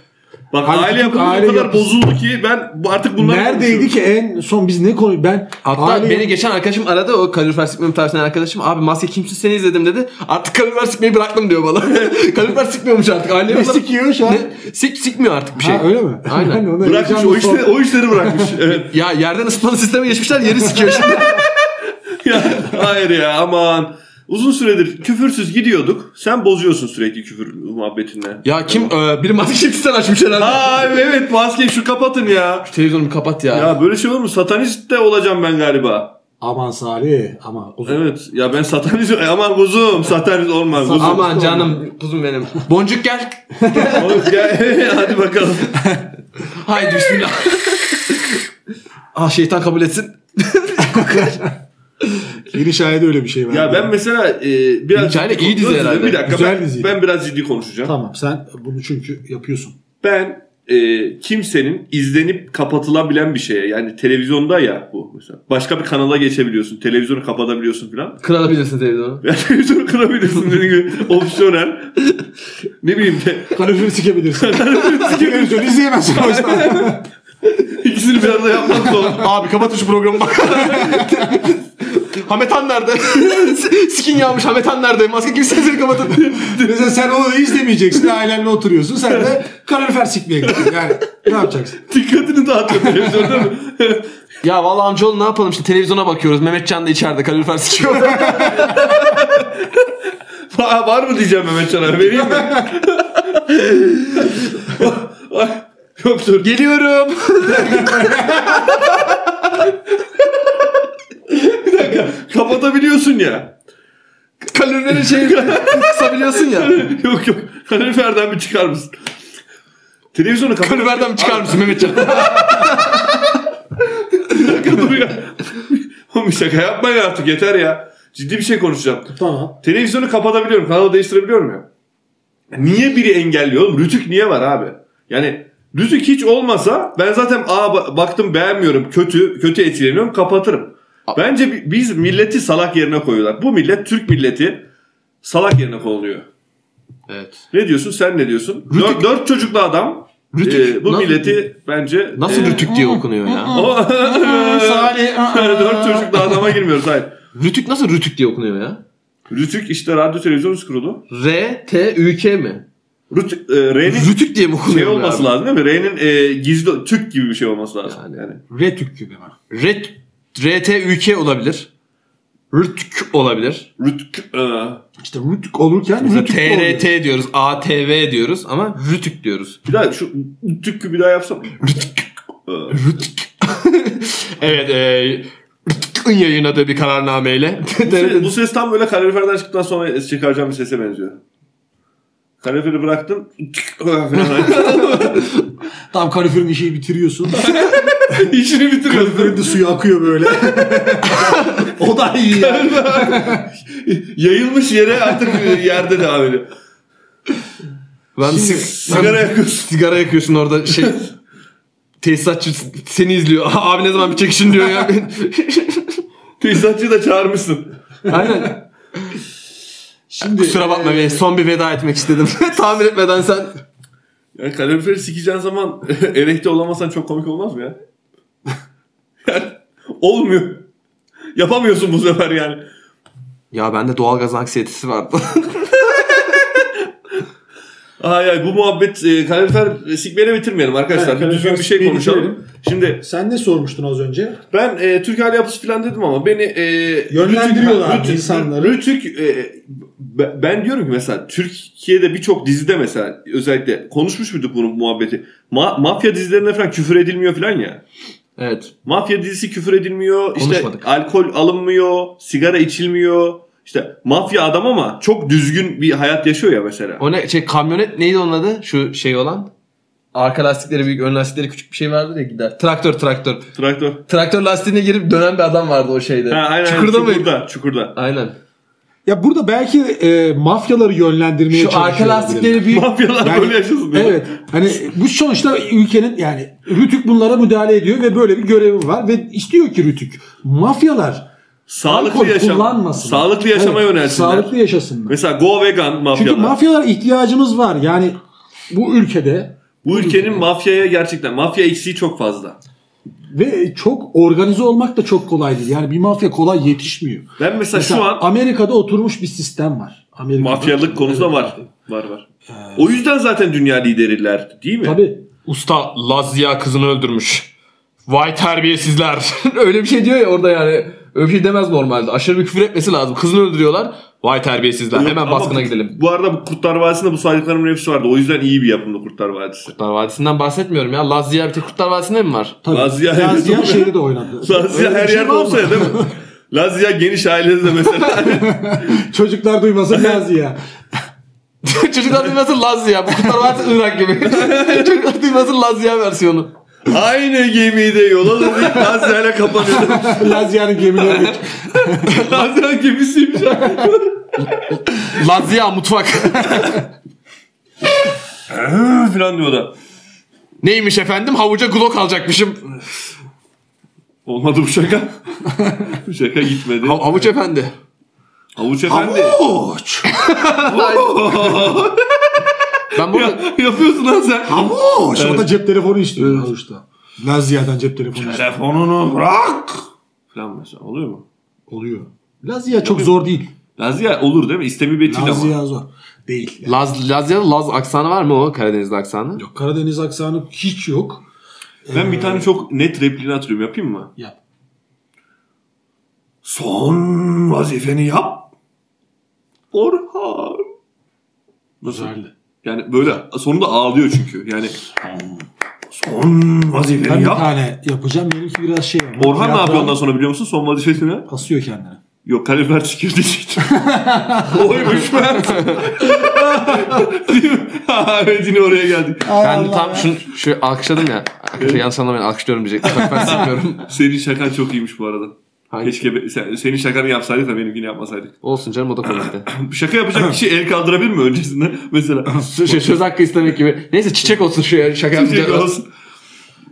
[SPEAKER 1] Bak
[SPEAKER 3] Hayır,
[SPEAKER 1] aile yapımız
[SPEAKER 3] aile
[SPEAKER 1] o kadar
[SPEAKER 3] yapısı-
[SPEAKER 1] bozuldu ki ben bu- artık bunları
[SPEAKER 3] Neredeydi ki en son biz ne konu ben
[SPEAKER 2] Hatta
[SPEAKER 3] aile-
[SPEAKER 2] beni geçen arkadaşım aradı o kalorifer sikmemi tavsiyen arkadaşım. Abi maske kimsin seni izledim dedi. Artık kalorifer sikmeyi bıraktım diyor bana. kalorifer sikmiyormuş artık. Aile
[SPEAKER 3] ne sikiyor şu an?
[SPEAKER 2] Ne? Sik, sikmiyor artık bir şey.
[SPEAKER 3] Ha, öyle mi?
[SPEAKER 2] Aynen.
[SPEAKER 3] Ben ona
[SPEAKER 1] Bırakmış
[SPEAKER 3] heyecanla
[SPEAKER 1] o işleri,
[SPEAKER 3] sordum.
[SPEAKER 1] o işleri bırakmış. Evet.
[SPEAKER 2] Ya yerden ısıtmalı sisteme geçmişler yeri sikiyor şimdi.
[SPEAKER 1] Ya, hayır ya aman. Uzun süredir küfürsüz gidiyorduk. Sen bozuyorsun sürekli küfür muhabbetinle.
[SPEAKER 2] ya kim e, biri maske kimsin açmış herhalde.
[SPEAKER 1] Aa evet maskeyi şu kapatın ya.
[SPEAKER 2] Televizyonu bir kapat ya.
[SPEAKER 1] Ya böyle şey olur mu? Satanist de olacağım ben galiba.
[SPEAKER 3] Aman Salih ama uzun.
[SPEAKER 1] Evet. Ya ben satanist... E, aman kuzum. Satanist olma kuzum.
[SPEAKER 2] Aman canım kuzum benim. Boncuk gel.
[SPEAKER 1] Oğlum, gel, hadi bakalım.
[SPEAKER 2] Haydi bismillah. ah şeytan kabul etsin.
[SPEAKER 3] Yeni şahide öyle bir şey var.
[SPEAKER 1] Ya ben mesela e, biraz...
[SPEAKER 2] Hikaye
[SPEAKER 1] ciddi
[SPEAKER 2] iyi dizi
[SPEAKER 1] Özür dilerim,
[SPEAKER 2] herhalde.
[SPEAKER 1] Bir dakika
[SPEAKER 3] Güzel
[SPEAKER 1] ben,
[SPEAKER 3] diziydi.
[SPEAKER 1] ben biraz ciddi konuşacağım.
[SPEAKER 3] Tamam sen bunu çünkü yapıyorsun.
[SPEAKER 1] Ben e, kimsenin izlenip kapatılabilen bir şeye yani televizyonda ya bu mesela. Başka bir kanala geçebiliyorsun. Televizyonu kapatabiliyorsun falan.
[SPEAKER 2] Kırabilirsin televizyonu.
[SPEAKER 1] Ya televizyonu kırabilirsin dediğim gibi opsiyonel. ne bileyim de
[SPEAKER 3] Kaloriferi sikebilirsin. Televizyon izleyemezsin o yüzden.
[SPEAKER 1] ikisini bir arada yapmak zor.
[SPEAKER 2] Abi kapat şu programı bak. Hamet Han nerede? Skin yağmış Hamet Han nerede? Maske kimse seni kapatın.
[SPEAKER 3] Mesela sen onu da izlemeyeceksin. Ailenle oturuyorsun. Sen de kalorifer sikmeye gidiyorsun. Yani ne yapacaksın?
[SPEAKER 1] Dikkatini dağıtıyor televizyonda mı?
[SPEAKER 2] ya vallahi amcaoğlu ne yapalım işte televizyona bakıyoruz. Mehmetcan da içeride kalorifer sikiyor.
[SPEAKER 1] Aa, var mı diyeceğim Mehmet Çanar'a vereyim mi? Ay, Yok dur.
[SPEAKER 2] Geliyorum.
[SPEAKER 1] Kapatabiliyorsun ya.
[SPEAKER 2] kalorilerin şeyi kısabiliyorsun ya.
[SPEAKER 1] yok yok. Kaloriferden bir çıkar mısın? Televizyonu kapat.
[SPEAKER 2] Kaloriferden mi çıkar mısın Mehmetcan?
[SPEAKER 1] Dur ya. Oğlum şaka yapmayın artık yeter ya. Ciddi bir şey konuşacağım.
[SPEAKER 3] Tamam.
[SPEAKER 1] Televizyonu kapatabiliyorum. Kanalı değiştirebiliyorum ya. Niye biri engelliyor oğlum? Rütük niye var abi? Yani Rütük hiç olmasa ben zaten aa ba- baktım beğenmiyorum kötü kötü etkileniyorum kapatırım. Bence bi- biz milleti salak yerine koyuyorlar. Bu millet Türk milleti salak yerine konuluyor.
[SPEAKER 2] evet.
[SPEAKER 1] Ne diyorsun sen ne diyorsun?
[SPEAKER 2] Rütük-
[SPEAKER 1] Dört, dört çocuklu adam
[SPEAKER 2] Rütük.
[SPEAKER 1] e, bu
[SPEAKER 2] Nasıl-
[SPEAKER 1] milleti bence...
[SPEAKER 2] Nasıl
[SPEAKER 1] e,
[SPEAKER 2] rütük diye okunuyor ya?
[SPEAKER 1] o-
[SPEAKER 3] Salih.
[SPEAKER 1] Dört çocuklu adama girmiyoruz hayır.
[SPEAKER 2] Rütük nasıl rütük diye okunuyor ya?
[SPEAKER 1] Rütük işte radyo televizyon üst kurulu.
[SPEAKER 2] R, T, Ü, K mi?
[SPEAKER 1] Rütük, e, R'nin
[SPEAKER 2] Rütük diye mi okunuyor?
[SPEAKER 1] şey
[SPEAKER 2] bu
[SPEAKER 1] olması
[SPEAKER 2] abi?
[SPEAKER 1] lazım değil mi? R'nin e, gizli tük gibi bir şey olması lazım.
[SPEAKER 2] Yani.
[SPEAKER 1] Yani.
[SPEAKER 3] Retük gibi mi?
[SPEAKER 2] Red, RT ülke olabilir. Rütk olabilir.
[SPEAKER 1] Rütük e,
[SPEAKER 3] İşte rütük olurken
[SPEAKER 2] Mesela
[SPEAKER 3] rütük de oluyor.
[SPEAKER 2] TRT diyoruz, ATV diyoruz ama rütük diyoruz.
[SPEAKER 1] bir daha şu tük bir daha yapsam. Rütük. E,
[SPEAKER 2] Rütük. evet, e, Rütk'ün yayınladığı bir kararnameyle.
[SPEAKER 1] bu, ses, bu ses tam böyle kaloriferden çıktıktan sonra çıkaracağım bir sese benziyor. Kaloriferi bıraktın. tük falan.
[SPEAKER 3] Tam kaloriferin işi bitiriyorsun.
[SPEAKER 1] İşini bitiriyorsun.
[SPEAKER 3] Kaloriferin de suyu akıyor böyle. o da iyi ya.
[SPEAKER 1] Yayılmış yere artık e, yerde devam ediyor.
[SPEAKER 2] ben sig-
[SPEAKER 1] Sigara
[SPEAKER 2] ben
[SPEAKER 1] yakıyorsun.
[SPEAKER 2] sigara yakıyorsun orada şey tesisatçı seni izliyor. Abi ne zaman bir çekişin diyor ya.
[SPEAKER 1] Tesisatçıyı da çağırmışsın.
[SPEAKER 2] Aynen.
[SPEAKER 3] Şimdi
[SPEAKER 2] Kusura
[SPEAKER 1] e-
[SPEAKER 2] bakma be. Son bir veda etmek istedim. Tamir etmeden sen
[SPEAKER 1] Yani kaloriferi sikeceğin zaman erekte olamasan çok komik olmaz mı ya? yani, olmuyor. Yapamıyorsun bu sefer yani.
[SPEAKER 2] Ya bende doğalgaz anksiyetesi vardı.
[SPEAKER 1] Ay ay bu muhabbet e, kalorifer sikmeyle bitirmeyelim arkadaşlar.
[SPEAKER 3] Evet,
[SPEAKER 1] bir düzgün bir
[SPEAKER 3] kalorifer
[SPEAKER 1] şey
[SPEAKER 3] sikmeyi
[SPEAKER 1] konuşalım.
[SPEAKER 3] bitirelim.
[SPEAKER 1] Şimdi
[SPEAKER 3] sen ne sormuştun az önce?
[SPEAKER 1] ben e, Türk hali yapısı falan dedim ama beni e,
[SPEAKER 3] Yönlendiriyorlar
[SPEAKER 1] Rütük- Rütük-
[SPEAKER 3] insanları.
[SPEAKER 1] Rütük, e, be- ben diyorum ki mesela Türkiye'de birçok dizide mesela özellikle konuşmuş muyduk bunun muhabbeti? Ma- mafya dizilerinde falan küfür edilmiyor falan ya.
[SPEAKER 2] evet.
[SPEAKER 1] Mafya dizisi küfür edilmiyor. işte
[SPEAKER 2] Konuşmadık.
[SPEAKER 1] alkol alınmıyor. Sigara içilmiyor. İşte mafya adam ama çok düzgün bir hayat yaşıyor ya mesela.
[SPEAKER 2] O ne şey kamyonet neydi onun adı? Şu şey olan. Arka lastikleri büyük, ön lastikleri küçük bir şey vardır ya gider. Traktör, traktör.
[SPEAKER 1] Traktör.
[SPEAKER 2] Traktör lastiğine girip dönen bir adam vardı o şeyde.
[SPEAKER 1] Ha, aynen,
[SPEAKER 2] Çukurda
[SPEAKER 1] çukurda,
[SPEAKER 2] mıydı?
[SPEAKER 1] çukurda, çukurda.
[SPEAKER 2] Aynen.
[SPEAKER 3] Ya burada belki e, mafyaları yönlendirmeye
[SPEAKER 2] Şu arka
[SPEAKER 3] çalışıyor olabilirim.
[SPEAKER 2] lastikleri büyük.
[SPEAKER 1] Mafyalar
[SPEAKER 3] Yani-
[SPEAKER 1] böyle yaşasın. diyor.
[SPEAKER 3] Evet. Hani bu sonuçta ülkenin yani Rütük bunlara müdahale ediyor ve böyle bir görevi var ve istiyor ki Rütük mafyalar
[SPEAKER 1] Sağlıklı
[SPEAKER 3] alkol
[SPEAKER 1] yaşam.
[SPEAKER 3] kullanmasın.
[SPEAKER 1] Sağlıklı yaşama
[SPEAKER 3] Evet,
[SPEAKER 1] yönelsinler.
[SPEAKER 3] Sağlıklı yaşasınlar.
[SPEAKER 1] Mesela go vegan mafyalar.
[SPEAKER 3] Çünkü mafyalar ihtiyacımız var. Yani bu ülkede
[SPEAKER 1] Bu ülkenin mafyaya gerçekten mafya eksiği çok fazla.
[SPEAKER 3] ve çok organize olmak da çok kolay değil. Yani bir mafya kolay yetişmiyor.
[SPEAKER 1] Ben mesela,
[SPEAKER 3] Mesela
[SPEAKER 1] şu an
[SPEAKER 3] Amerika'da oturmuş bir sistem var. Amerika'da
[SPEAKER 1] mafyalık konusunda
[SPEAKER 3] Evet.
[SPEAKER 1] var. Var var. O yüzden zaten dünya lideriler değil mi?
[SPEAKER 3] Tabii.
[SPEAKER 2] Usta Lazia kızını öldürmüş. Vay terbiyesizler. Öyle bir şey diyor ya orada yani. Öyle bir şey demez normalde. Aşırı bir küfür etmesi lazım. Kızını öldürüyorlar. Vay terbiyesizler.
[SPEAKER 1] Yok,
[SPEAKER 2] Hemen
[SPEAKER 1] ama
[SPEAKER 2] baskına
[SPEAKER 1] bu-
[SPEAKER 2] gidelim.
[SPEAKER 1] Bu arada bu Kurtlar Vadisi'nde bu saydıklarımın hepsi vardı. O yüzden iyi bir yapımdı Kurtlar Vadisi.
[SPEAKER 2] Kurtlar Vadisi'nden bahsetmiyorum ya. Lazia bir tek Kurtlar Vadisi'nde mi var?
[SPEAKER 3] Tabii.
[SPEAKER 1] Lazia-
[SPEAKER 3] Lazia şeyde de oynadı.
[SPEAKER 1] Lazia
[SPEAKER 3] Öyle bir
[SPEAKER 1] her
[SPEAKER 3] şey
[SPEAKER 1] yerde
[SPEAKER 3] var mı?
[SPEAKER 1] olsaydı değil mi? Lazia geniş ailede de mesela.
[SPEAKER 3] Çocuklar duymasın Lazia.
[SPEAKER 2] Çocuklar duymasın Lazia. Bu Kurtlar Vadisi Irak gibi. Çocuklar duymasın Lazia versiyonu.
[SPEAKER 1] Aynı gemide yol alındı. Lazia ile kapanıyordu.
[SPEAKER 3] Lazia'nın gemileri.
[SPEAKER 1] Lazia gemisiymiş.
[SPEAKER 2] Lazia mutfak.
[SPEAKER 1] Falan diyor da.
[SPEAKER 2] Neymiş efendim? Havuca glock alacakmışım.
[SPEAKER 1] Olmadı bu şaka. bu şaka gitmedi.
[SPEAKER 2] Ha- havuç efendi.
[SPEAKER 1] Havuç efendi.
[SPEAKER 3] Havuç.
[SPEAKER 2] Ben bunu
[SPEAKER 1] Ya, yapıyorsun lan sen.
[SPEAKER 3] Havuç. O da cep telefonu istiyor havuçta. Lazia'dan cep telefonu istiyor.
[SPEAKER 1] Telefonunu bırak. Falan mesela oluyor mu?
[SPEAKER 3] Oluyor. Lazia çok zor değil.
[SPEAKER 1] Lazia olur değil mi? İstemi Betil ama.
[SPEAKER 3] Lazia zor. Değil. yani.
[SPEAKER 2] Laz, Lazia'da Laz aksanı var mı o Karadeniz'de aksanı?
[SPEAKER 3] Yok Karadeniz aksanı hiç yok.
[SPEAKER 1] Ben bir tane çok net repliğini hatırlıyorum. Yapayım mı?
[SPEAKER 3] Yap.
[SPEAKER 1] Son vazifeni yap. Orhan. Nasıl?
[SPEAKER 3] Güzeldi.
[SPEAKER 1] Yani böyle sonunda ağlıyor çünkü. Yani son
[SPEAKER 3] Ben
[SPEAKER 1] vazifeni
[SPEAKER 3] bir
[SPEAKER 1] yap.
[SPEAKER 3] tane yapacağım. Benimki biraz şey var.
[SPEAKER 1] Orhan ne
[SPEAKER 3] Biraz
[SPEAKER 1] yapıyor
[SPEAKER 3] daha
[SPEAKER 1] ondan sonra biliyor musun? Son vazifesini.
[SPEAKER 3] Kasıyor kendini.
[SPEAKER 1] Yok kalifer çıkıyor diyecektim. Oymuş ben. Değil mi? Ha, evet yine oraya geldik.
[SPEAKER 2] Ben de tam şunu şu alkışladım ya. Şu yan sana ben alkışlıyorum diyecektim. Bak ben silmiyorum.
[SPEAKER 1] Senin şakan çok iyiymiş bu arada.
[SPEAKER 2] Hangi?
[SPEAKER 1] Keşke be- sen, senin şakanı yapsaydık da benimkini yapmasaydık.
[SPEAKER 2] Olsun canım o da komikti.
[SPEAKER 1] Şaka yapacak kişi el kaldırabilir mi öncesinde? Mesela
[SPEAKER 2] Şey, söz hakkı istemek gibi. Neyse çiçek olsun şu ya. Şaka
[SPEAKER 1] Türkçe
[SPEAKER 2] yapacağım.
[SPEAKER 1] olsun.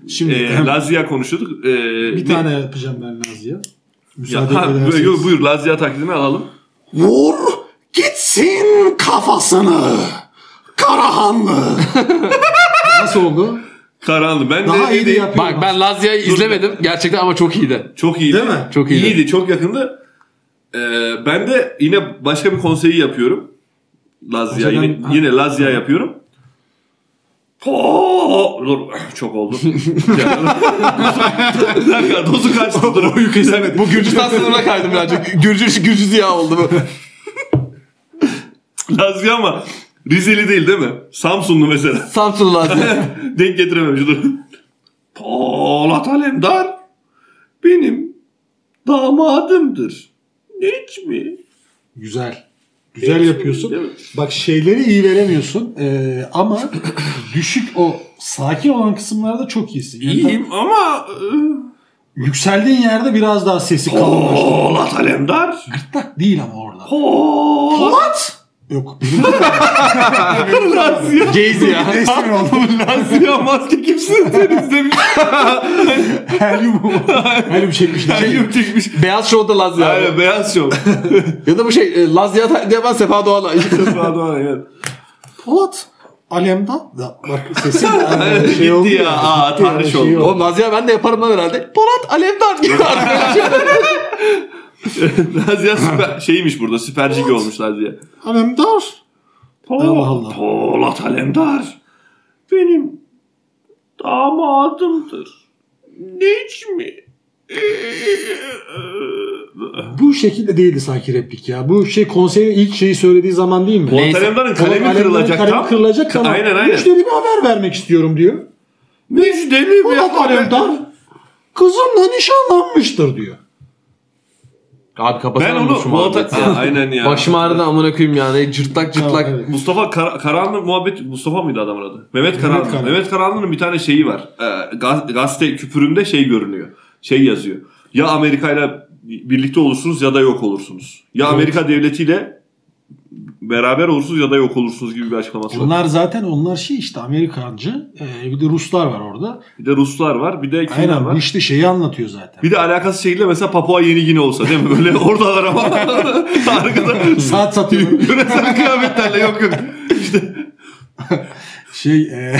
[SPEAKER 3] Şimdi
[SPEAKER 1] Ee, Lazia konuşuyorduk. Ee,
[SPEAKER 3] bir
[SPEAKER 1] ne-
[SPEAKER 3] tane yapacağım ben Nazlı'ya.
[SPEAKER 1] Ya,
[SPEAKER 3] Müsaade
[SPEAKER 1] ha,
[SPEAKER 3] ederseniz.
[SPEAKER 1] buyur, buyur Lazia taklidini alalım.
[SPEAKER 4] Vur gitsin kafasını. Karahanlı.
[SPEAKER 3] Nasıl oldu?
[SPEAKER 1] Karanlı. Ben
[SPEAKER 3] Daha
[SPEAKER 1] de
[SPEAKER 3] iyi de
[SPEAKER 1] dedi-
[SPEAKER 3] yapıyorum.
[SPEAKER 2] Bak ben Lazia'yı izlemedim gerçekten ama çok iyiydi.
[SPEAKER 1] Çok iyiydi.
[SPEAKER 3] Değil mi?
[SPEAKER 2] Çok iyiydi.
[SPEAKER 1] İyiydi. Çok yakındı. Ee, ben de yine başka bir konseyi yapıyorum. Lazia.
[SPEAKER 3] Önceden-
[SPEAKER 1] Yine,
[SPEAKER 3] ha.
[SPEAKER 1] yine Lazia yapıyorum. Oo, dur, çok oldu. Bir dakika dozu kaçtı. Dur, oyu kesemedim.
[SPEAKER 2] Bu Gürcistan sınırına kaydım birazcık. Gürcü, Gürcü ziya oldu bu.
[SPEAKER 1] Lazia ama Rizeli değil değil mi? Samsunlu mesela.
[SPEAKER 2] Samsun Lazia.
[SPEAKER 1] Denk getirememiş dur. Polat Alemdar benim damadımdır. Necmi.
[SPEAKER 3] Güzel. Güzel
[SPEAKER 1] Ee, Değil
[SPEAKER 3] yapıyorsun.
[SPEAKER 1] mi?
[SPEAKER 3] Bak şeyleri iyi veremiyorsun Ee, ama düşük o sakin olan kısımlarda çok iyisin. Yani tabii
[SPEAKER 1] İyiyim ama e,
[SPEAKER 3] Yükseldiğin yerde biraz daha sesi
[SPEAKER 1] Oh.
[SPEAKER 3] kalınlaştı.
[SPEAKER 1] Polat Alemdar.
[SPEAKER 3] Gırtlak değil ama orada.
[SPEAKER 1] Polat
[SPEAKER 3] What? Yok. Benim
[SPEAKER 1] Lazia.
[SPEAKER 2] Gay ziya.
[SPEAKER 3] resmen oldu.
[SPEAKER 1] Lazia maske kimsin sen izlemiş.
[SPEAKER 3] Helyum. Helyum çekmişler.
[SPEAKER 1] Helyum çekmiş.
[SPEAKER 2] Beyaz Show'da Lazia.
[SPEAKER 1] Aynen beyaz şov.
[SPEAKER 2] Ya da bu şey e, Lazia ta- diye ben Sefa Doğan'a.
[SPEAKER 1] Sefa Doğan evet.
[SPEAKER 3] Polat. Alemda. Da, bak sesin de
[SPEAKER 1] Gitti ya, aa, tarih
[SPEAKER 3] şey
[SPEAKER 1] oldu.
[SPEAKER 2] Oğlum Lazia ben de yaparım lan herhalde. Polat Alemdar diyor arkadaşlar.
[SPEAKER 1] Lazia süper, şeymiş burada süperci gibi olmuş Lazia.
[SPEAKER 3] Alemdar. Allah Allah.
[SPEAKER 1] Polat Alemdar benim damadımdır. Necmi.
[SPEAKER 3] Bu şekilde değildi sanki replik ya. Bu şey konserin ilk şeyi söylediği zaman değil mi?
[SPEAKER 1] Polat
[SPEAKER 2] Neyse,
[SPEAKER 1] Alemdar'ın
[SPEAKER 3] Polat
[SPEAKER 1] kalemi
[SPEAKER 3] Alemdar'ın
[SPEAKER 1] kırılacak
[SPEAKER 3] kalemi
[SPEAKER 1] tam.
[SPEAKER 3] kırılacak tamam.
[SPEAKER 1] Aynen aynen.
[SPEAKER 3] Müşteri bir haber vermek istiyorum diyor.
[SPEAKER 1] Müjdeli bir
[SPEAKER 3] Polat
[SPEAKER 1] haber.
[SPEAKER 3] Alemdar kızımla nişanlanmıştır diyor.
[SPEAKER 2] Abi
[SPEAKER 1] Ben
[SPEAKER 2] kapatalım
[SPEAKER 1] onu Polat Aa, Aynen ya.
[SPEAKER 2] Başım ağrıdı amına koyayım yani. Cırtlak cırtlak.
[SPEAKER 3] Tamam, evet.
[SPEAKER 1] Mustafa Kar- Karahanlı muhabbet Mustafa mıydı adamın adı? Mehmet Karahanlı. Mehmet,
[SPEAKER 3] Karahanlı.
[SPEAKER 1] Karahanlı'nın bir tane şeyi var. Ee, gaz- gazete küpüründe şey görünüyor. Şey yazıyor. Ya Amerika ile birlikte olursunuz ya da yok olursunuz. Ya Amerika devletiyle beraber olursunuz ya da yok olursunuz gibi bir açıklaması var.
[SPEAKER 3] Onlar zaten onlar şey işte Amerikancı. Ee, bir de Ruslar var orada.
[SPEAKER 1] Bir de Ruslar var, bir de kimler
[SPEAKER 3] Aynen şey- bu
[SPEAKER 1] var?
[SPEAKER 3] işte şeyi anlatıyor zaten.
[SPEAKER 1] Bir de alakası şeyle mesela Papua Yeni Gine olsa değil mi? Böyle oradalar ama arkada
[SPEAKER 3] Saat satıyor.
[SPEAKER 1] yöresel kıyafetlerle yok yok. İşte
[SPEAKER 3] şey e,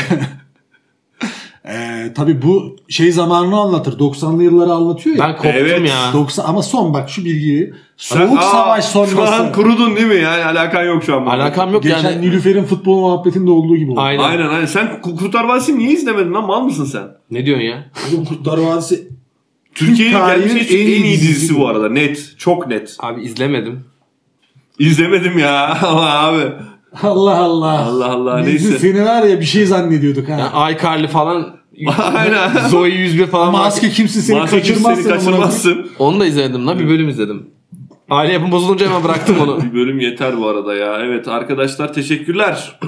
[SPEAKER 3] e, tabii bu şey zamanını anlatır. 90'lı yılları anlatıyor ya.
[SPEAKER 2] Ben koptum
[SPEAKER 1] Evet.
[SPEAKER 2] ya.
[SPEAKER 3] 90 ama son bak şu bilgiyi.
[SPEAKER 1] sen-
[SPEAKER 3] Soğuk
[SPEAKER 1] Aa,
[SPEAKER 3] savaş
[SPEAKER 1] Şu an
[SPEAKER 3] sonrası.
[SPEAKER 1] kurudun değil mi? Yani alakan yok şu an. bununla.
[SPEAKER 2] Alakam yok
[SPEAKER 3] Geçen
[SPEAKER 2] yani.
[SPEAKER 3] Nilüfer'in futbol muhabbetinde olduğu gibi oldu.
[SPEAKER 2] Aynen.
[SPEAKER 1] Aynen aynen. Sen Ku- Kurtlar Vadisi'ni niye izlemedin lan? Mal mısın sen?
[SPEAKER 2] Ne diyorsun ya?
[SPEAKER 3] Oğlum Kurtlar Vadisi
[SPEAKER 1] Türkiye'nin
[SPEAKER 3] tarihinin
[SPEAKER 1] gelmiş en,
[SPEAKER 3] en
[SPEAKER 1] en
[SPEAKER 3] iyi
[SPEAKER 1] iyi dizisi
[SPEAKER 3] dizisi
[SPEAKER 1] bu arada. Net. Çok net.
[SPEAKER 2] Abi izlemedim.
[SPEAKER 1] İzlemedim ya. Ama abi.
[SPEAKER 3] Allah Allah.
[SPEAKER 1] Allah Allah,
[SPEAKER 3] Biz de
[SPEAKER 1] neyse.
[SPEAKER 3] seni var ya bir şey zannediyorduk ha.
[SPEAKER 2] Yani iCarly falan.
[SPEAKER 1] Aynen.
[SPEAKER 2] Zoe 101 falan. var.
[SPEAKER 3] Maske kimsin seni
[SPEAKER 1] Maske kimse
[SPEAKER 3] kaçırmazsın.
[SPEAKER 1] seni
[SPEAKER 3] amına koyayım.
[SPEAKER 1] kaçırmazsın.
[SPEAKER 2] Onu da izledim lan. Bir bölüm izledim. Aile yapım bozulunca hemen bıraktım onu.
[SPEAKER 1] Bir bölüm yeter bu arada ya. Evet arkadaşlar teşekkürler.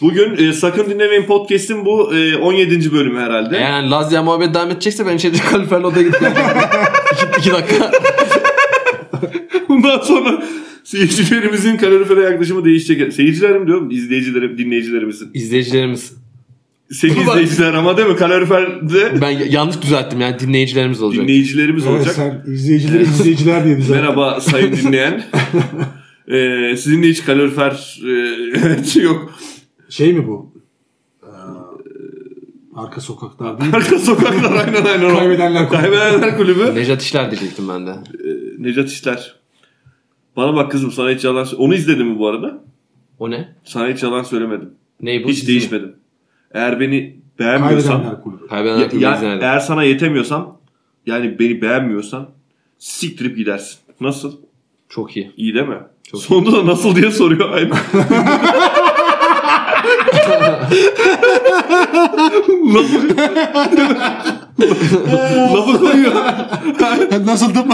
[SPEAKER 1] Bugün e, Sakın Dinlemeyin Podcast'in bu e, 17. bölümü herhalde.
[SPEAKER 2] Yani Lazia muhabbet devam edecekse ben içeri kaliferli odaya gideceğim. iki, iki dakika.
[SPEAKER 1] Bundan sonra seyircilerimizin kalorifere yaklaşımı değişecek. Seyircilerim diyorum izleyicilerim, dinleyicilerimizin.
[SPEAKER 2] İzleyicilerimiz.
[SPEAKER 1] Seni
[SPEAKER 2] Bak-
[SPEAKER 1] izleyiciler ama değil mi? Kaloriferde
[SPEAKER 2] Ben y- yanlış düzelttim yani dinleyicilerimiz olacak.
[SPEAKER 1] dinleyicilerimiz
[SPEAKER 3] Evet,
[SPEAKER 1] olacak.
[SPEAKER 3] sen izleyicileri izleyiciler diye düzelt.
[SPEAKER 1] Merhaba sayın dinleyen. Ee, sizinle hiç kalorifer e, yok.
[SPEAKER 3] Şey mi bu? Ee, arka sokaklar değil.
[SPEAKER 1] Arka sokaklar aynen aynen. o.
[SPEAKER 3] Kaybedenler Kulübü.
[SPEAKER 1] Kaybedenler kulübü.
[SPEAKER 2] Nejat İşler diyecektim ben de.
[SPEAKER 1] Ee, Necat İşler. Bana bak kızım sana hiç yalan... Onu izledin mi bu arada?
[SPEAKER 2] O ne?
[SPEAKER 1] Sana hiç yalan söylemedim.
[SPEAKER 2] Ney bu?
[SPEAKER 1] Hiç değişmedim. Eğer beni beğenmiyorsan...
[SPEAKER 3] Kaybedenler kulübü.
[SPEAKER 2] Hayır ben
[SPEAKER 1] Ya,
[SPEAKER 2] hayatımda
[SPEAKER 1] ya-
[SPEAKER 2] izlemedim.
[SPEAKER 1] eğer sana yetemiyorsam... Yani beni beğenmiyorsan... Siktirip gidersin. Nasıl?
[SPEAKER 2] Çok iyi.
[SPEAKER 1] İyi değil mi?
[SPEAKER 2] Çok iyi.
[SPEAKER 1] Sonunda da nasıl diye soruyor aynı. lafı, lafı koyuyor.
[SPEAKER 3] Nasıldım?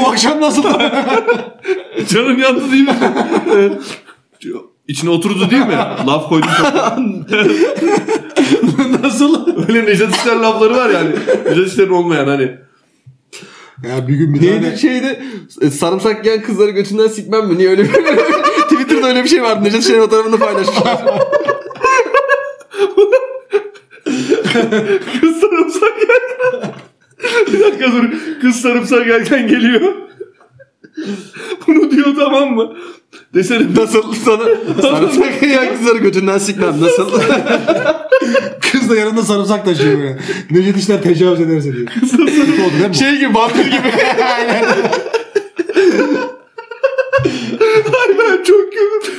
[SPEAKER 4] Bu akşam nasıl?
[SPEAKER 1] Canım yandı değil mi? İçine oturdu değil mi? Laf koydum çok.
[SPEAKER 4] nasıl?
[SPEAKER 1] Öyle Necdet İşler lafları var yani. Necdet İşler'in olmayan hani.
[SPEAKER 4] Ya bir gün bir tane...
[SPEAKER 2] Neydi şeydi? E, Sarımsak yiyen kızları götünden sikmem mi? Niye öyle bir Twitter'da öyle bir şey vardı. Necdet Şener fotoğrafını paylaşmışlar.
[SPEAKER 1] Kız sarımsak yerken. Bir dakika dur. Kız sarımsak yerken geliyor. Bunu diyor tamam mı? Desene
[SPEAKER 2] Nasıl sana? Sarımsak yiyen kızları götünden sikmem. Nasıl?
[SPEAKER 4] Kız da yanında sarımsak taşıyor böyle. Necdet İşler tecavüz ederse diyor. Kötü oldu değil mi?
[SPEAKER 2] şey gibi vampir gibi.
[SPEAKER 1] ben çok kötü.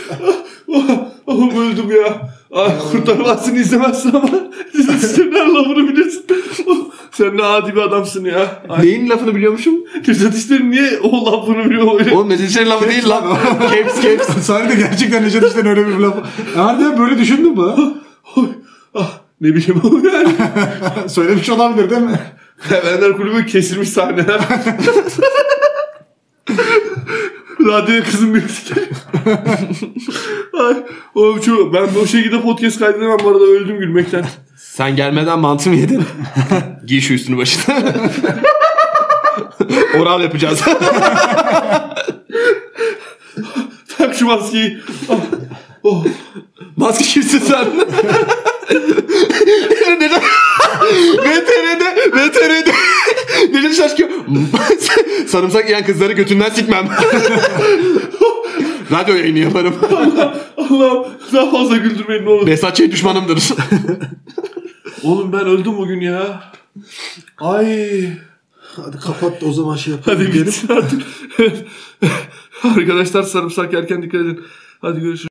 [SPEAKER 1] Ah, ah, öldüm ya. Ah, kurtarmazsın izlemezsin ama Necdet İşler'in her lafını bilirsin. Ah, Sen ne adi bir adamsın ya. Ay,
[SPEAKER 2] Neyin lafını biliyormuşum?
[SPEAKER 1] Necdet İşler'in niye o lafını biliyor öyle?
[SPEAKER 2] Oğlum Necdet Şener'in lafı değil lan. Caps caps.
[SPEAKER 4] Sahnede gerçekten Necdet İşler'in öyle bir lafı. Harbiden böyle düşündün mü?
[SPEAKER 1] Oy, ah, ne bileyim oğlum yani.
[SPEAKER 4] Söylemiş olabilir değil mi?
[SPEAKER 1] Benler kulübü kesilmiş sahneler. Radyoya kızım müzik. Ay, oğlum şu, ben bu şekilde podcast kaydedemem bu arada öldüm gülmekten.
[SPEAKER 2] Sen gelmeden mantı mı yedin? Giy şu üstünü başına. Oral yapacağız.
[SPEAKER 1] Tak şu maskeyi. Ah, oh.
[SPEAKER 2] Maske kimsin sen? Neden? VTR'de, VTR'de. Neden şaşkın? Sarımsak yiyen kızları götünden sikmem. Radyo yayını yaparım.
[SPEAKER 1] Allah'ım daha fazla güldürmeyin ne olur.
[SPEAKER 2] Besatçı düşmanımdır.
[SPEAKER 1] Oğlum ben öldüm bugün ya. Ay.
[SPEAKER 4] Hadi kapat da o zaman şey yapalım.
[SPEAKER 1] Hadi
[SPEAKER 4] Gelip-
[SPEAKER 1] gitsin artık. Arkadaşlar sarımsak yerken dikkat edin. Hadi görüşürüz.